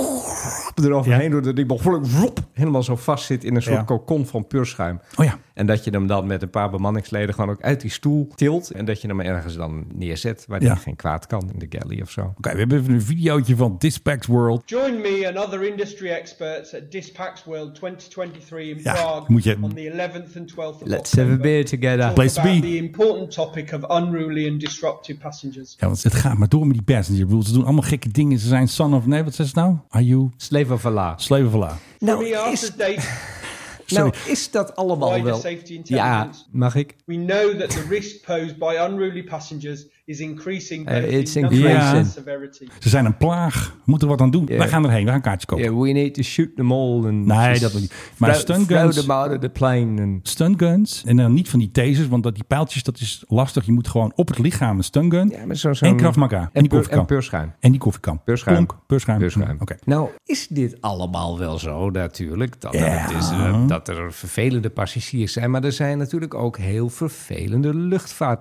Speaker 8: eroverheen
Speaker 5: Ja.
Speaker 8: doet, dat die bal vlop, vlop, helemaal zo vast zit in een soort
Speaker 5: Ja.
Speaker 8: cocon van peurschuim.
Speaker 5: Oh ja,
Speaker 8: En dat je hem dan met een paar bemanningsleden gewoon ook uit die stoel tilt. En dat je hem ergens dan neerzet waar
Speaker 5: Ja.
Speaker 8: die geen kwaad kan, in de galley of zo.
Speaker 5: Oké, we hebben even een videootje van Dispatch World.
Speaker 10: Join me and other industry experts at Dispax World 2023 in
Speaker 5: Ja,
Speaker 10: Prague
Speaker 5: moet je-
Speaker 10: on the 11th and 12th of
Speaker 8: Let's have
Speaker 10: October.
Speaker 8: a beer together.
Speaker 10: Talk
Speaker 5: Place to
Speaker 10: about
Speaker 5: be.
Speaker 10: the important topic of unruly and disruptive passengers.
Speaker 5: Ja, want het gaat maar door met die passenger. Ik bedoel, ze doen allemaal gekke dingen. Ze zijn son of... Nee, wat is het nou? Are you...
Speaker 8: Slave of Allah.
Speaker 5: Slave of Allah.
Speaker 8: Nou
Speaker 10: We after
Speaker 8: is,
Speaker 10: date,
Speaker 8: nou, is dat allemaal
Speaker 10: Wider
Speaker 8: wel...
Speaker 10: safety
Speaker 8: Ja,
Speaker 10: intelligence.
Speaker 8: mag ik?
Speaker 10: we know that the risk posed by unruly passengers is increasing
Speaker 8: Uh,
Speaker 10: both
Speaker 8: it's
Speaker 10: in number
Speaker 5: increasing.
Speaker 10: and severity.
Speaker 5: Ze zijn een plaag. We moeten wat aan doen. Wij gaan erheen. We gaan een kaartje kopen.
Speaker 8: Yeah, we need to shoot them all. And
Speaker 5: Nee,
Speaker 8: just
Speaker 5: dat wil niet. Maar
Speaker 8: throw,
Speaker 5: stun
Speaker 8: throw
Speaker 5: guns-
Speaker 8: them out of the plane. And...
Speaker 5: Stunguns. En dan niet van die tasers. Want dat, die pijltjes, dat is lastig. Je moet gewoon op het lichaam een stungun.
Speaker 8: Ja, maar zo, zo'n-
Speaker 5: en Krav Maga. En,
Speaker 8: En,
Speaker 5: die
Speaker 8: peur, en
Speaker 5: koffiekam.
Speaker 8: peurschuim.
Speaker 5: En die koffiekam.
Speaker 8: Peurschuim.
Speaker 5: Plonk, peurschuim.
Speaker 8: Peurschuim.
Speaker 5: Hm, Oké.
Speaker 8: Nou, is dit allemaal wel zo natuurlijk? Dat,
Speaker 5: Ja.
Speaker 8: dat, is, eh, dat er vervelende passagiers zijn. Maar er zijn natuurlijk ook heel vervelende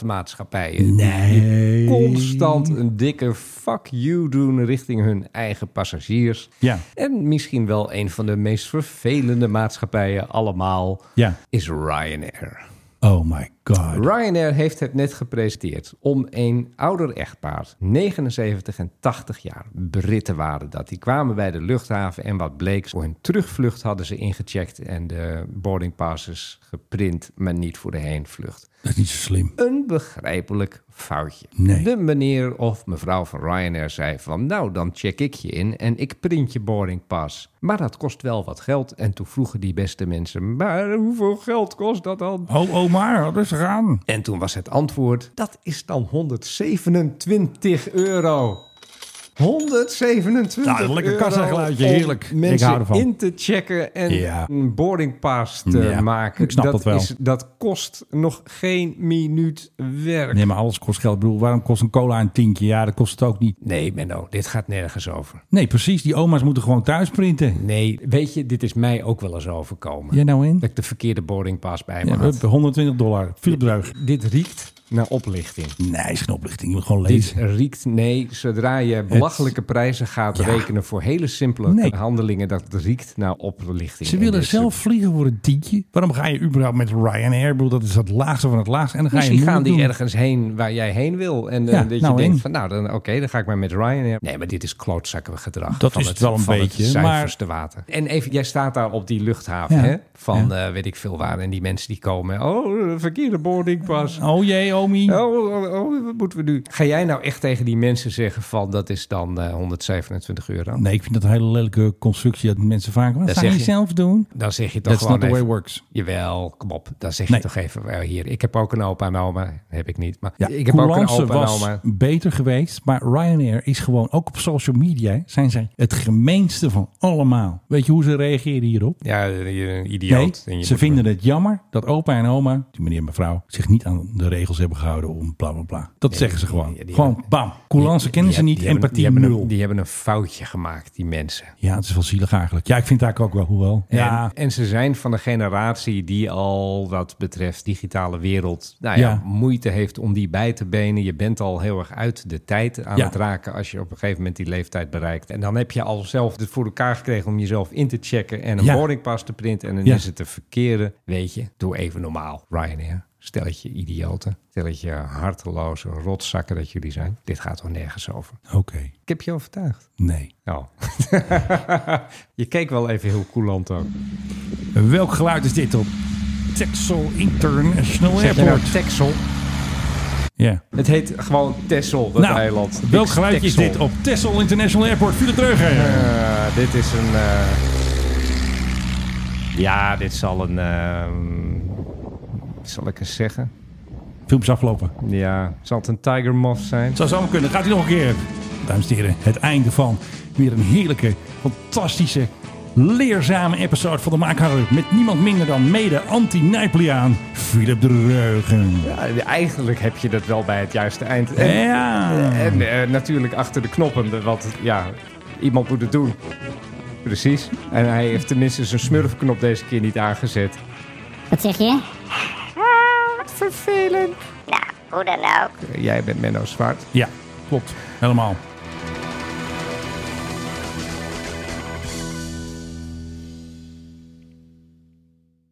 Speaker 8: luchtvaartmaatschappijen.
Speaker 5: Nee.
Speaker 8: Constant een dikke fuck you doen richting hun eigen passagiers.
Speaker 5: Ja.
Speaker 8: En misschien wel een van de meest vervelende maatschappijen allemaal
Speaker 5: Ja.
Speaker 8: is Ryanair.
Speaker 5: Oh my god.
Speaker 8: Ryanair heeft het net gepresenteerd om een ouder echtpaar, 79 en 80 jaar, Britten waren dat. Die kwamen bij de luchthaven en wat bleek, voor hun terugvlucht hadden ze ingecheckt en de boarding passes geprint, maar niet voor de heenvlucht.
Speaker 5: Dat is niet zo slim.
Speaker 8: Een begrijpelijk foutje.
Speaker 5: Nee.
Speaker 8: De meneer of mevrouw van Ryanair zei van nou dan check ik je in en ik print je boarding pass. Maar dat kost wel wat geld en toen vroegen die beste mensen, maar hoeveel geld kost dat dan?
Speaker 5: Ho, oh maar. Rustig aan.
Speaker 8: En toen was het antwoord: dat is dan 127 euro. 127
Speaker 5: Nou, een lekker
Speaker 8: euro
Speaker 5: kassageluidje,
Speaker 8: om
Speaker 5: heerlijk. Ik
Speaker 8: mensen
Speaker 5: hou ervan.
Speaker 8: in te checken en
Speaker 5: Ja.
Speaker 8: een boarding pass te
Speaker 5: Ja,
Speaker 8: maken.
Speaker 5: ik snap dat wel.
Speaker 8: dat kost nog geen minuut werk.
Speaker 5: Nee, maar alles kost geld. Ik bedoel, waarom kost een cola een tientje? Ja, dat kost het ook niet.
Speaker 8: Nee, Menno, dit gaat nergens over.
Speaker 5: Nee, precies. Die oma's moeten gewoon thuis printen.
Speaker 8: Nee, weet je, dit is mij ook wel eens overkomen.
Speaker 5: Jij nou in?
Speaker 8: Dat ik de verkeerde boarding pass bij me
Speaker 5: Ja,
Speaker 8: had.
Speaker 5: hup, 120 dollar. Philip Druig.
Speaker 8: Dit riekt naar oplichting.
Speaker 5: Nee, is geen oplichting. Je moet gewoon
Speaker 8: Dit
Speaker 5: lezen.
Speaker 8: riekt, nee, zodra je belachelijke prijzen gaat
Speaker 5: Ja.
Speaker 8: rekenen voor hele simpele
Speaker 5: Nee.
Speaker 8: handelingen, dat riekt naar oplichting.
Speaker 5: Ze
Speaker 8: En dus nou,
Speaker 5: willen
Speaker 8: dit
Speaker 5: zelf
Speaker 8: soort-
Speaker 5: vliegen voor een tientje. Waarom ga je überhaupt met Ryanair? Ik bedoel, dat is het laagste van het laagste. En dan ga
Speaker 8: Misschien
Speaker 5: je
Speaker 8: gaan die
Speaker 5: moeilijk
Speaker 8: ergens heen waar jij heen wil. En eh,
Speaker 5: Ja,
Speaker 8: dat
Speaker 5: nou,
Speaker 8: je denkt
Speaker 5: heen.
Speaker 8: van, nou, dan oké, dan ga ik maar met Ryanair. Nee, maar dit is klootzakkengedrag.
Speaker 5: Dat
Speaker 8: van
Speaker 5: is het wel een
Speaker 8: van
Speaker 5: beetje,
Speaker 8: Het
Speaker 5: maar-
Speaker 8: zuiverste water. En even, jij staat daar op die luchthaven,
Speaker 5: Ja.
Speaker 8: hè? Van
Speaker 5: Ja.
Speaker 8: eh, weet ik veel waar. En die mensen die komen, oh, verkeerde boarding pas.
Speaker 5: doen. Oh jee, Omi.
Speaker 8: Oh, oh, oh, wat moeten we nu? Ga jij nou echt tegen die mensen zeggen van dat is dan eh, 127 euro?
Speaker 5: Nee, ik vind dat een hele lelijke constructie dat mensen vaak... Wat
Speaker 8: Dat
Speaker 5: zou je
Speaker 8: zeg je.
Speaker 5: zelf doen?
Speaker 8: Dan zeg je toch
Speaker 5: That's
Speaker 8: gewoon
Speaker 5: not the way
Speaker 8: even-
Speaker 5: it works.
Speaker 8: Jawel, kom op. Dan zeg
Speaker 5: Nee.
Speaker 8: je toch even eh, hier. Ik heb ook een opa en oma. Heb ik niet. Maar
Speaker 5: Ja,
Speaker 8: ik heb ook een
Speaker 5: Coulance
Speaker 8: opa en
Speaker 5: was
Speaker 8: oma.
Speaker 5: beter geweest, maar Ryanair is gewoon ook op social media zijn zij het gemeenste van allemaal. Weet je hoe ze reageren hierop?
Speaker 8: Ja, je een
Speaker 5: Nee,
Speaker 8: idioot. En je
Speaker 5: ze
Speaker 8: moet-
Speaker 5: vinden het jammer dat opa en oma, die meneer en mevrouw, zich niet aan de regels hebben gehouden om bla bla bla. Dat zeggen ze gewoon.
Speaker 8: die- die
Speaker 5: gewoon bam. Coulance kennen ze
Speaker 8: die-
Speaker 5: niet,
Speaker 8: die hebben-
Speaker 5: empathie
Speaker 8: die hebben,
Speaker 5: nul.
Speaker 8: Een, die hebben een foutje gemaakt, die mensen.
Speaker 5: ja, het is wel zielig eigenlijk. Ja, ik vind het eigenlijk ook wel, hoewel. Ja,
Speaker 8: En, en ze zijn van de generatie die al wat betreft digitale wereld nou ja,
Speaker 5: Ja.
Speaker 8: moeite heeft om die bij te benen. Je bent al heel erg uit de tijd aan
Speaker 5: Ja.
Speaker 8: het raken als je op een gegeven moment die leeftijd bereikt. En dan heb je al zelf het voor elkaar gekregen om jezelf in te checken en een
Speaker 5: Ja.
Speaker 8: boardingpas te printen. En dan
Speaker 5: Ja.
Speaker 8: is het de verkeerde, weet je, doe even normaal, Ryanair. Stelletje idioten. Stelletje harteloze rotzakken dat jullie zijn. Dit gaat toch nergens over.
Speaker 5: Oké.
Speaker 8: Ik heb je overtuigd.
Speaker 5: Nee.
Speaker 8: Oh. je keek wel even heel coulant ook.
Speaker 5: Welk geluid is dit op Texel International
Speaker 8: Zeg je
Speaker 5: Airport?
Speaker 8: nou Texel?
Speaker 5: Ja.
Speaker 8: Het heet gewoon Texel, dat
Speaker 5: nou,
Speaker 8: eiland.
Speaker 5: welk
Speaker 8: X
Speaker 5: geluidje is
Speaker 8: Texel.
Speaker 5: dit op Texel International Airport? Viel terug, hè?
Speaker 8: Eh, dit is een... eh, Ja, dit zal een... ehm, Zal ik eens zeggen?
Speaker 5: Filmpjes afgelopen.
Speaker 8: Ja, zal het een Tiger Moth zijn?
Speaker 5: Zou zomaar kunnen. Gaat hij nog een keer. Dames en heren, het einde van weer een heerlijke, fantastische, leerzame episode van de Maakharre. Met niemand minder dan mede anti-Nijpliaan, Philip de Reugen.
Speaker 8: Ja, eigenlijk heb je dat wel bij het juiste eind. En,
Speaker 5: Ja.
Speaker 8: en eh, natuurlijk achter de knoppen, want ja, iemand moet het doen. Precies. En hij heeft tenminste zijn smurfknop deze keer niet aangezet.
Speaker 7: Wat zeg je?
Speaker 8: Ah, Wat vervelend.
Speaker 7: Nou, hoe dan ook.
Speaker 8: Jij bent Menno Zwart.
Speaker 5: Ja, klopt. Helemaal.